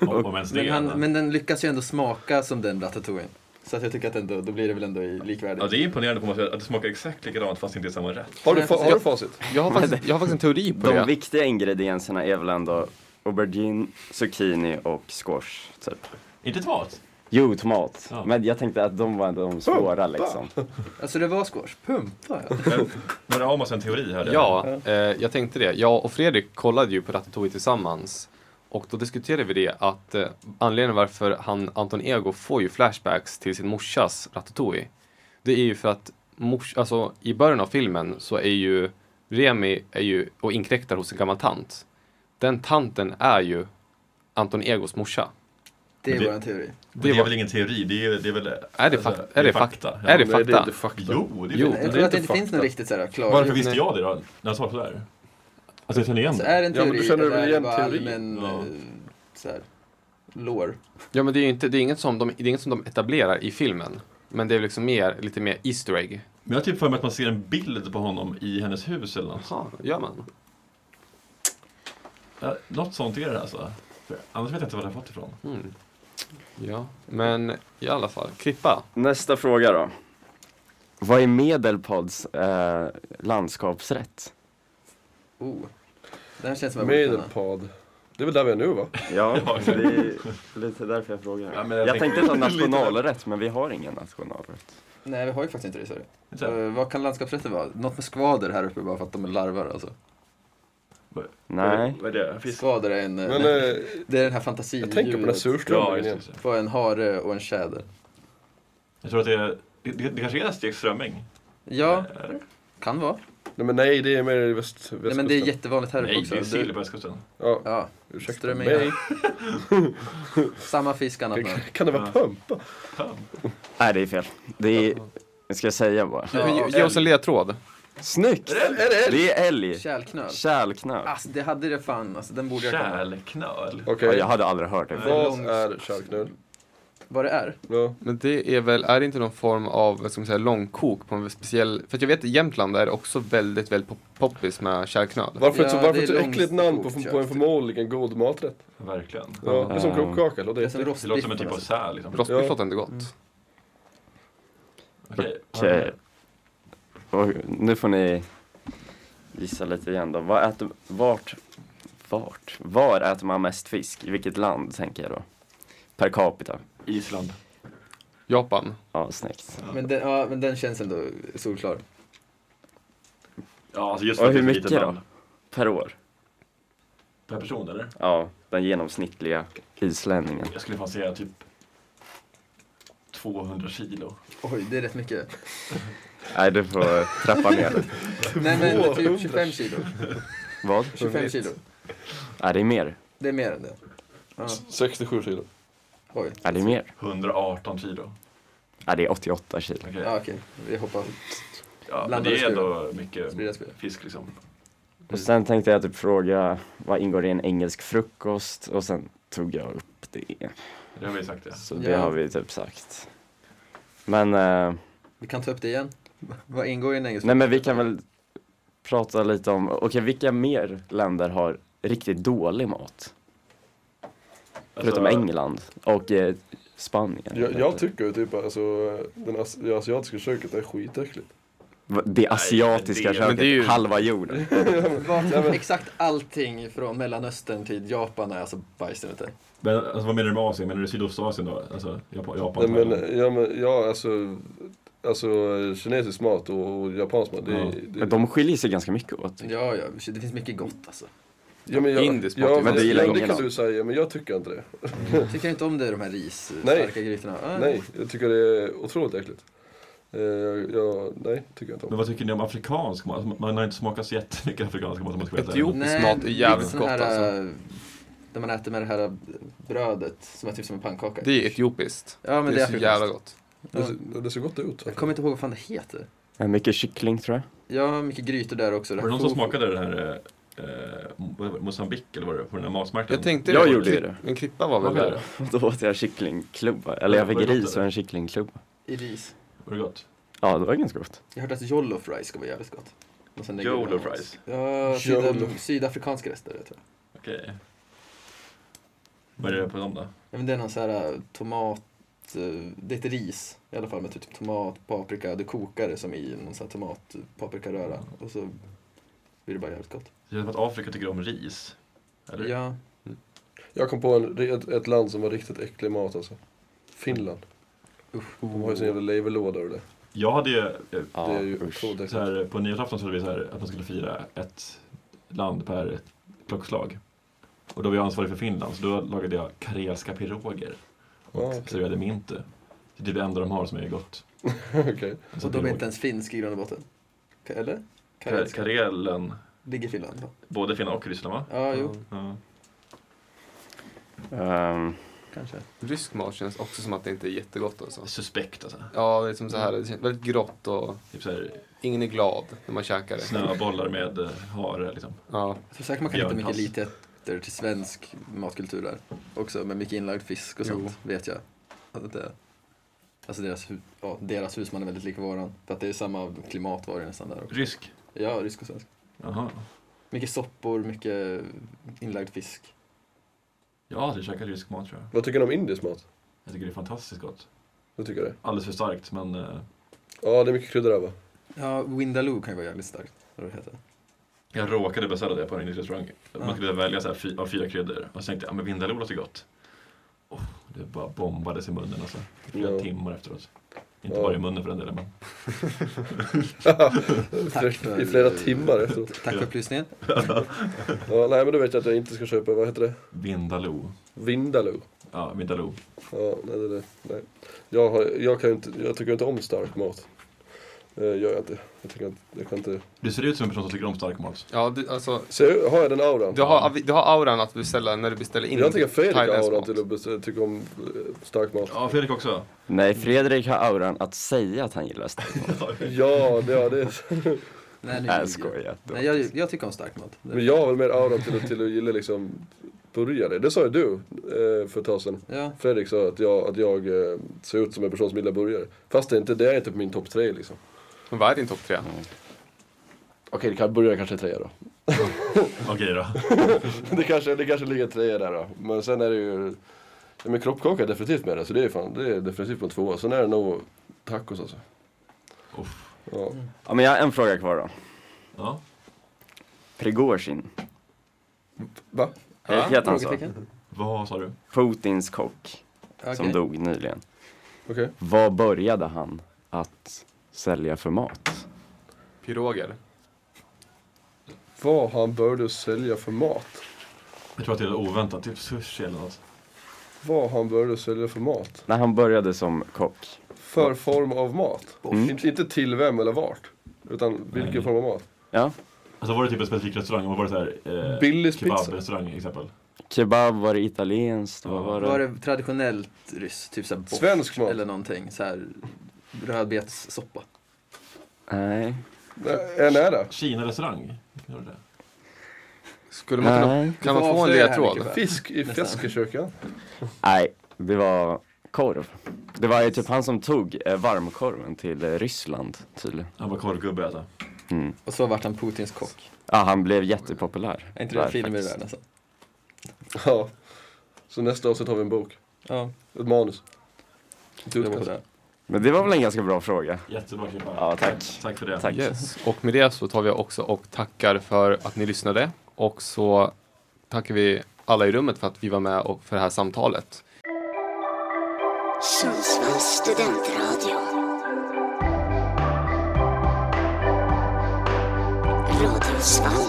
[SPEAKER 6] Om, om ens det.
[SPEAKER 3] Men,
[SPEAKER 6] va?
[SPEAKER 3] han, men den lyckas ju ändå smaka som den ratatouille. Så att jag tycker att ändå, då blir det väl ändå i- likvärdigt.
[SPEAKER 6] Ja, det är imponerande på något sätt att det smakar exakt likadant fast det inte är samma rätt.
[SPEAKER 4] Har du,
[SPEAKER 3] Nej,
[SPEAKER 4] fa- har du
[SPEAKER 2] jag-
[SPEAKER 4] facit?
[SPEAKER 2] Jag har, faktiskt, jag har faktiskt en teori på
[SPEAKER 5] De
[SPEAKER 2] det.
[SPEAKER 5] viktiga ingredienserna är väl ändå aubergine, zucchini och squash, typ.
[SPEAKER 6] Inte tomat.
[SPEAKER 5] Jo, tomat.
[SPEAKER 6] Ja.
[SPEAKER 5] Men jag tänkte att de var de svåra liksom.
[SPEAKER 3] Alltså det var squash. Pumpa ja.
[SPEAKER 6] Men, men Amos en teori här.
[SPEAKER 2] Ja, eh, jag tänkte det. Jag och Fredrik kollade ju på Ratatouille tillsammans. Och då diskuterade vi det att eh, anledningen varför han, Anton Ego får ju flashbacks till sin morsas Ratatouille. Det är ju för att mors, alltså, i början av filmen så är ju Remi är ju och inkräktar hos en gammal tant. Den tanten är ju Anton Egos morsa.
[SPEAKER 3] Det är
[SPEAKER 6] Men det-
[SPEAKER 3] våran teori.
[SPEAKER 6] Det,
[SPEAKER 2] det
[SPEAKER 6] det är
[SPEAKER 2] var-
[SPEAKER 6] väl ingen teori, det är, det är väl...
[SPEAKER 2] Är det
[SPEAKER 6] alltså,
[SPEAKER 2] fakta? Är det fakta?
[SPEAKER 6] Ja.
[SPEAKER 2] Är det
[SPEAKER 4] Nej, det är
[SPEAKER 2] fakta?
[SPEAKER 4] inte fakta.
[SPEAKER 6] Jo, det är
[SPEAKER 2] Jo.
[SPEAKER 6] väl-
[SPEAKER 3] Jag
[SPEAKER 4] det är
[SPEAKER 3] tror att
[SPEAKER 4] inte
[SPEAKER 3] det inte finns
[SPEAKER 4] fakta.
[SPEAKER 3] någon riktigt såhär klar...
[SPEAKER 6] Varför visste jag det då? När jag svarade på det här? Alltså jag känner igen
[SPEAKER 3] Så
[SPEAKER 6] det.
[SPEAKER 3] är det en
[SPEAKER 4] Ja, men
[SPEAKER 3] teori
[SPEAKER 4] du känner
[SPEAKER 3] eller
[SPEAKER 4] väl
[SPEAKER 3] är det
[SPEAKER 4] igen
[SPEAKER 3] bara
[SPEAKER 4] teorin?
[SPEAKER 3] allmän
[SPEAKER 6] Ja.
[SPEAKER 3] eh, så här, lore?
[SPEAKER 2] Ja men det är ju inte, det är inget som de, det är inget som de etablerar i filmen. Men det är liksom mer, lite mer Easter egg.
[SPEAKER 6] Men jag har typ för mig att man ser en bild på honom i hennes hus eller något.
[SPEAKER 2] Jaha, gör man?
[SPEAKER 6] Ja, något sånt är det alltså. För annars vet jag inte var jag har fått ifrån.
[SPEAKER 2] Mm. Ja, men i alla fall. Klippa.
[SPEAKER 5] Nästa fråga då. Vad är Medelpads eh, landskapsrätt?
[SPEAKER 3] Oh. Det här känns som en
[SPEAKER 4] Medelpad. Det är väl där vi är nu va?
[SPEAKER 5] Ja, det är lite därför jag frågar.
[SPEAKER 6] Ja, men jag
[SPEAKER 5] jag, tänkte ta
[SPEAKER 6] tänkte-
[SPEAKER 5] nationalrätt, men vi har ingen nationalrätt.
[SPEAKER 3] Nej, vi har ju faktiskt inte det. Sorry.
[SPEAKER 6] Inte
[SPEAKER 3] Så,
[SPEAKER 6] det?
[SPEAKER 3] eh, vad kan landskapsrätter vara? Något med skvader här uppe bara för att de är larver alltså.
[SPEAKER 5] Nej.
[SPEAKER 6] Vad är det? Fisk?
[SPEAKER 3] Skvader är en... eh,
[SPEAKER 4] Men eh,
[SPEAKER 3] det är den här fantasidjuret.
[SPEAKER 4] jag tänker på den här
[SPEAKER 6] Ja,
[SPEAKER 4] surströmmingen
[SPEAKER 6] just det,
[SPEAKER 4] igen.
[SPEAKER 6] just det.
[SPEAKER 3] På en hare och en tjäder.
[SPEAKER 6] Jag tror att det är... Det, det kanske är stekt strömming?
[SPEAKER 3] Ja,
[SPEAKER 4] Eh.
[SPEAKER 6] Eller?
[SPEAKER 3] kan vara.
[SPEAKER 4] Nej men nej, det är mer i väst,
[SPEAKER 3] Nej, men det är
[SPEAKER 4] västkusten.
[SPEAKER 3] jättevanligt här uppe
[SPEAKER 6] Nej,
[SPEAKER 3] också.
[SPEAKER 6] det är sill
[SPEAKER 3] Du-
[SPEAKER 6] på västkusten.
[SPEAKER 4] Ja,
[SPEAKER 3] Ja,
[SPEAKER 4] ursäkta
[SPEAKER 3] strömming.
[SPEAKER 4] mig.
[SPEAKER 3] samma fisk, annat namn.
[SPEAKER 4] Kan det vara
[SPEAKER 6] Ja.
[SPEAKER 4] pumpa?
[SPEAKER 6] Fan.
[SPEAKER 5] Nej, det är fel. Det är, jag ska säga bara.
[SPEAKER 2] Ge- Ge oss en ledtråd.
[SPEAKER 5] Snyggt! Det är älg.
[SPEAKER 3] Kärlknöl.
[SPEAKER 5] Kärlknöl.
[SPEAKER 6] Ah,
[SPEAKER 3] Alltså, det hade det fan. Alltså, den borde jag kunna.
[SPEAKER 6] Kärlknöl?
[SPEAKER 5] Ja,
[SPEAKER 4] Okej,
[SPEAKER 5] jag hade aldrig hört det.
[SPEAKER 4] vad är kärlknöl?
[SPEAKER 3] Vad det är?
[SPEAKER 4] Ja.
[SPEAKER 2] Men det är väl, är det inte någon form av, vad ska man säga, långkok på en speciell... För att jag vet i Jämtland är det också väldigt, väldigt pop- poppis med kärlknöl.
[SPEAKER 4] Varför ett så,
[SPEAKER 3] Ja,
[SPEAKER 4] varför
[SPEAKER 3] det är
[SPEAKER 4] ett så äckligt namn på, på en
[SPEAKER 3] långkokt
[SPEAKER 4] förmodligen god maträtt?
[SPEAKER 6] Verkligen.
[SPEAKER 4] Ja, det är som
[SPEAKER 5] Ja.
[SPEAKER 4] kroppkaka, låter
[SPEAKER 3] Det är som
[SPEAKER 6] typ
[SPEAKER 3] alltså.
[SPEAKER 4] jätteäckligt.
[SPEAKER 6] Det låter
[SPEAKER 3] rostbiffen.
[SPEAKER 6] som en typ av
[SPEAKER 3] Alltså.
[SPEAKER 6] säl liksom.
[SPEAKER 2] Rostbiff
[SPEAKER 4] Ja.
[SPEAKER 2] låter inte gott.
[SPEAKER 6] Okej.
[SPEAKER 5] Okej. Och nu får ni gissa lite igen då. Vad äter, vart, vart, var äter man mest fisk? I vilket land tänker jag då? Per capita.
[SPEAKER 6] Island.
[SPEAKER 2] Japan.
[SPEAKER 5] Ja, snyggt.
[SPEAKER 3] Men den, ja, men den känns ändå solklar.
[SPEAKER 6] Ja, alltså just
[SPEAKER 5] Och
[SPEAKER 6] för att
[SPEAKER 5] hur
[SPEAKER 6] det är ett litet
[SPEAKER 5] mycket
[SPEAKER 6] land.
[SPEAKER 5] Per år.
[SPEAKER 6] Per person eller?
[SPEAKER 5] Ja, den genomsnittliga islänningen.
[SPEAKER 6] Jag skulle fan säga typ 200 kilo.
[SPEAKER 3] Oj, det är rätt mycket.
[SPEAKER 5] Nej, du får trappa ner.
[SPEAKER 3] Nej men typ 25 kilo.
[SPEAKER 5] Vad?
[SPEAKER 3] 25 kilo.
[SPEAKER 5] Är det är mer?
[SPEAKER 3] Det är mer än det. Ja.
[SPEAKER 4] 67 kilo.
[SPEAKER 3] Oj.
[SPEAKER 5] Är det är mer?
[SPEAKER 6] 118 kilo.
[SPEAKER 5] Ja, det är 88 kilo.
[SPEAKER 6] Okej.
[SPEAKER 3] Ja, okej. Vi hoppar.
[SPEAKER 6] Ja, men
[SPEAKER 3] blandade
[SPEAKER 6] det är ändå mycket
[SPEAKER 3] Sprida, sprida.
[SPEAKER 6] fisk liksom.
[SPEAKER 5] Och sen tänkte jag typ fråga, vad ingår i en engelsk frukost? Och sen tog jag upp det.
[SPEAKER 6] Det har vi sagt ja.
[SPEAKER 5] Så det
[SPEAKER 3] Ja.
[SPEAKER 5] har vi typ sagt. Men, eh,
[SPEAKER 3] Vi kan ta upp det igen. Vad ingår i en engelsk
[SPEAKER 5] nej men vi kan väl prata lite om, okej vilka mer länder har riktigt dålig mat? Förutom
[SPEAKER 6] Alltså,
[SPEAKER 5] England och eh, Spanien.
[SPEAKER 4] Jag, jag tycker ju typ alltså, den as- det asiatiska köket är skitäckligt.
[SPEAKER 5] Va- det asiatiska
[SPEAKER 6] det-
[SPEAKER 2] men
[SPEAKER 5] köket,
[SPEAKER 2] det är ju-
[SPEAKER 5] halva jorden.
[SPEAKER 3] Varför exakt allting från Mellanöstern till Japan är alltså bajs det inte.
[SPEAKER 6] Men alltså, vad menar du med Asien? Menar du Sydostasien då? Alltså Japan? Japan
[SPEAKER 4] Nej,
[SPEAKER 6] Thailand?
[SPEAKER 4] men, eh, ja, men, ja, alltså, alltså kinesisk mat och, och japansk mat. Det,
[SPEAKER 6] Ja.
[SPEAKER 4] det,
[SPEAKER 5] Men De skiljer sig ganska mycket åt.
[SPEAKER 3] Ja, ja, det finns mycket gott alltså.
[SPEAKER 4] ja, men jag,
[SPEAKER 2] Indisk mat,
[SPEAKER 4] ja,
[SPEAKER 2] men
[SPEAKER 4] men
[SPEAKER 5] det
[SPEAKER 4] det,
[SPEAKER 5] gillar
[SPEAKER 4] ja, det
[SPEAKER 5] ingen
[SPEAKER 4] kan
[SPEAKER 5] av.
[SPEAKER 4] du säga, men jag tycker inte det.
[SPEAKER 3] Tycker inte om det, de här ris,
[SPEAKER 4] Mm. Nej.
[SPEAKER 3] starka grytorna. Ah.
[SPEAKER 4] Nej, jag tycker det är otroligt äckligt. Eh, jag, jag, nej, tycker jag inte om.
[SPEAKER 6] Men vad tycker ni om afrikansk mat? Alltså, Man har inte ssmakat så jättemycket afrikansk mat om man ska veta.
[SPEAKER 2] Etiopien. Tropisk mat är
[SPEAKER 3] det
[SPEAKER 2] jävligt
[SPEAKER 3] sån här,
[SPEAKER 2] gott, alltså.
[SPEAKER 3] äh, När man äter med det här äh, brödet som är typ som en pannkaka.
[SPEAKER 2] Det är etiopiskt.
[SPEAKER 3] ja, men
[SPEAKER 2] det,
[SPEAKER 3] det,
[SPEAKER 2] är så jävla gott.
[SPEAKER 4] Det, ser- det ser gott ut.
[SPEAKER 3] Jag kommer inte ihåg vad fan det heter.
[SPEAKER 5] Eh, Mycket kyckling tror jag.
[SPEAKER 3] Ja, mycket grytor där också.
[SPEAKER 6] Var det någon som smakade den här eh, Mosambik eller vad det var, på den här matmarknaden?
[SPEAKER 2] Jag tänkte
[SPEAKER 5] Jag
[SPEAKER 2] det.
[SPEAKER 5] gjorde ju
[SPEAKER 2] Klipp- En klippa var väl
[SPEAKER 6] Vad var det?
[SPEAKER 2] där.
[SPEAKER 5] Då åt jag kycklingklubba, eller jag
[SPEAKER 6] Vad
[SPEAKER 5] fick
[SPEAKER 6] gott
[SPEAKER 5] ris
[SPEAKER 6] det
[SPEAKER 5] och
[SPEAKER 6] är.
[SPEAKER 5] en kycklingklubba.
[SPEAKER 3] I ris.
[SPEAKER 6] Var det gott?
[SPEAKER 5] Ja, det var ganska gott.
[SPEAKER 3] Jag hörde att jollof rice ska vara jävligt gott. Och sen det
[SPEAKER 6] Jollof
[SPEAKER 3] gröna mat.
[SPEAKER 6] rice?
[SPEAKER 3] Ja,
[SPEAKER 4] Jollof.
[SPEAKER 3] syd- sydafrikanska rester tror jag.
[SPEAKER 6] Okej. Vad är det på dem då?
[SPEAKER 3] Ja, men det är någon sån här äh, tomat, äh, det heter ris i alla fall med typ tomat, paprika, du kokar det som i någon sån här tomat, paprikaröra och så blir det bara jävligt gott.
[SPEAKER 6] Det känns som att Afrika tycker om ris. Eller?
[SPEAKER 3] Ja,
[SPEAKER 4] Jag kom på en, ett, ett land som var riktigt äcklig mat alltså. Finland. De har ju sin jävla leverlåda och det.
[SPEAKER 6] Jag hade ju, eh,
[SPEAKER 5] Ja,
[SPEAKER 4] det är ju
[SPEAKER 5] usch.
[SPEAKER 4] otroligt äckligt.
[SPEAKER 6] så här, på nyårsafton så hade vi så här, att man skulle fira ett land per klockslag. Och då var jag ansvarig för Finland, så då lagade jag karelska piroger. Och
[SPEAKER 3] Ah,
[SPEAKER 4] Ja, okej.
[SPEAKER 6] serverade mintu. Det är typ det enda de har som är gott.
[SPEAKER 4] Okej.
[SPEAKER 6] Alltså,
[SPEAKER 3] och de är
[SPEAKER 6] pirog.
[SPEAKER 3] inte ens finsk i grund och botten. Ka- Eller?
[SPEAKER 6] Ka-
[SPEAKER 3] Karelska.
[SPEAKER 6] Karelen,
[SPEAKER 3] Ligger i Finland? va?
[SPEAKER 6] både Finland och Ryssland va?
[SPEAKER 3] Ja, jo,
[SPEAKER 6] Ja.
[SPEAKER 5] Ehm,
[SPEAKER 3] kanske.
[SPEAKER 2] Rysk mat känns också som att det inte är jättegott alltså.
[SPEAKER 6] Suspekt alltså.
[SPEAKER 2] Ja, det är som så här, det känns väldigt grått och
[SPEAKER 6] Typ så här,
[SPEAKER 2] ingen är glad när man käkar det.
[SPEAKER 6] snöbollar med eh, hare liksom.
[SPEAKER 2] Ja.
[SPEAKER 3] Jag tror säkert man kan hitta mycket
[SPEAKER 6] Björnpass.
[SPEAKER 3] likheter till svensk matkultur där också med mycket inlagd fisk och
[SPEAKER 2] Jo.
[SPEAKER 3] sånt vet jag. Att det, alltså deras, hu- ja, deras husman är väldigt lika varan. För att det är samma klimat var det nästan där också.
[SPEAKER 6] Rysk.
[SPEAKER 3] Ja, rysk och svensk.
[SPEAKER 6] Jaha.
[SPEAKER 3] Mycket soppor, mycket inlagd fisk.
[SPEAKER 6] Jag har aldrig käkat rysk mat tror jag.
[SPEAKER 4] Vad tycker ni om indisk mat?
[SPEAKER 6] Jag tycker det är fantastiskt gott.
[SPEAKER 4] Vad tycker jag det?
[SPEAKER 6] Alldeles för starkt men eh,
[SPEAKER 4] Ja, det är mycket kryddor där va?
[SPEAKER 3] Ja, Vindaloo kan ju vara jävligt starkt. Vad det heter.
[SPEAKER 6] jag råkade beställa det på en indisk restaurang. Man
[SPEAKER 3] Ja.
[SPEAKER 6] skulle välja så här, fy, av fyra kryddor och så tänkte jag, ja men vindaloo låter gott. Oh, det bara bombades i munnen alltså. I flera
[SPEAKER 4] Ja.
[SPEAKER 6] timmar efteråt. Inte
[SPEAKER 4] Ja.
[SPEAKER 6] bara i munnen för den delen men.
[SPEAKER 3] Tack för-
[SPEAKER 4] I flera timmar efteråt.
[SPEAKER 3] Tack för upplysningen.
[SPEAKER 4] Ja, nej men då vet jag att jag inte ska köpa, vad heter det?
[SPEAKER 6] Vindaloo.
[SPEAKER 4] Vindaloo.
[SPEAKER 6] Ja, vindaloo.
[SPEAKER 4] Ja, nej, nej, nej, nej. Jag, har, jag, kan ju inte, jag tycker inte om stark mat. Eh, gör jag inte. Jag, tycker inte, jag kan inte.
[SPEAKER 6] Du ser ut som en person som tycker om stark mat.
[SPEAKER 2] Ja, du, alltså,
[SPEAKER 4] Så jag- har jag den auran?
[SPEAKER 2] du, har, du har auran att beställa när du beställer in
[SPEAKER 4] jag tycker Fredrik har
[SPEAKER 2] thailändsk
[SPEAKER 4] auran
[SPEAKER 2] mat.
[SPEAKER 4] till att bes- tycka om eh, stark mat.
[SPEAKER 6] Ja, Fredrik också.
[SPEAKER 5] nej, Fredrik har auran att säga att han gillar stark mat.
[SPEAKER 4] Ja, det, ja, det är,
[SPEAKER 3] Nej, nu
[SPEAKER 5] Nej, jag
[SPEAKER 3] ljuger jag.
[SPEAKER 5] skojar.
[SPEAKER 3] Nej, jag, jag tycker om stark mat.
[SPEAKER 4] men jag har väl mer auran till, att- till att gilla liksom burgare. Det sa ju du eh, för ett tag sedan.
[SPEAKER 3] Ja,
[SPEAKER 4] Fredrik sa att jag, att jag eh, ser ut som en person som gillar burgare. Fast det är inte, det är inte på min topp tre liksom.
[SPEAKER 2] Men vad är din topp tre?
[SPEAKER 4] Okej, det kan, burgare kanske är trea då.
[SPEAKER 6] Okej då.
[SPEAKER 4] det, kanske, det kanske ligger trea där då. Men sen är det ju... Ja, men kroppkaka är definitivt med det, så det är, fan, det är definitivt på en tvåa. Sen är det nog tacos alltså.
[SPEAKER 6] Uff.
[SPEAKER 4] Ja.
[SPEAKER 5] Ja, men jag har en fråga kvar då.
[SPEAKER 6] Ja.
[SPEAKER 5] Prigozjin,
[SPEAKER 4] Va?
[SPEAKER 5] ja, heter han så?
[SPEAKER 3] Frågetecken?
[SPEAKER 6] Vad sa du?
[SPEAKER 5] Putins kock, som
[SPEAKER 3] Okej.
[SPEAKER 5] dog nyligen.
[SPEAKER 4] Okej.
[SPEAKER 5] Vad började han att sälja för mat?
[SPEAKER 2] Piroger.
[SPEAKER 4] Vad han började sälja för mat?
[SPEAKER 6] Jag tror att det är oväntat, typ sushi eller något.
[SPEAKER 4] Vad han började sälja för mat?
[SPEAKER 5] När han började som kock.
[SPEAKER 4] För form av mat?
[SPEAKER 5] Mm.
[SPEAKER 4] Inte, inte till vem eller vart. Utan vilken
[SPEAKER 6] Nej.
[SPEAKER 4] form av mat?
[SPEAKER 5] Ja,
[SPEAKER 6] Alltså var det typ en specifik restaurang? Var det så här, eh,
[SPEAKER 4] Billys pizza.
[SPEAKER 6] kebabrestaurang till exempel?
[SPEAKER 5] kebab, var det italienskt?
[SPEAKER 6] Ja.
[SPEAKER 5] Vad var
[SPEAKER 3] Var
[SPEAKER 5] det?
[SPEAKER 3] det traditionellt ryss? Typ såhär borst
[SPEAKER 4] Svensk mat.
[SPEAKER 3] eller någonting. Såhär rödbetssoppa.
[SPEAKER 5] Nej.
[SPEAKER 4] Nej, En är det.
[SPEAKER 6] Kina-restaurang? Gjorde det?
[SPEAKER 2] Skulle man kunna,
[SPEAKER 5] Nej.
[SPEAKER 2] kan
[SPEAKER 3] Du
[SPEAKER 2] man
[SPEAKER 3] får
[SPEAKER 2] få en
[SPEAKER 3] avslöja här,
[SPEAKER 2] ledtråd?
[SPEAKER 3] Micke.
[SPEAKER 4] Fisk i
[SPEAKER 3] Nästan.
[SPEAKER 4] Feskekyrkan.
[SPEAKER 5] Nej, det var korv. Det var ju typ han som tog eh, varmkorven till eh, Ryssland tydligen.
[SPEAKER 6] Han var korvgubbe alltså.
[SPEAKER 5] Mm.
[SPEAKER 3] Och så vart han Putins kock.
[SPEAKER 5] Ja, han blev jättepopulär.
[SPEAKER 3] Är inte det en
[SPEAKER 5] där
[SPEAKER 3] film i
[SPEAKER 5] faktiskt.
[SPEAKER 3] världen alltså?
[SPEAKER 4] Ja. Så nästa avsnitt har vi en bok.
[SPEAKER 3] Ja,
[SPEAKER 4] Ett manus.
[SPEAKER 3] du på det.
[SPEAKER 5] Men det var väl en ganska bra fråga.
[SPEAKER 6] Jättebra klippa.
[SPEAKER 5] Ja, tack.
[SPEAKER 6] Tack för det.
[SPEAKER 5] Tack.
[SPEAKER 2] Yes. Och med det så tar vi också och tackar för att ni lyssnade. Och så tackar vi alla i rummet för att vi var med och för det här samtalet.
[SPEAKER 1] Sundsvalls studentradio. Radiosvallet.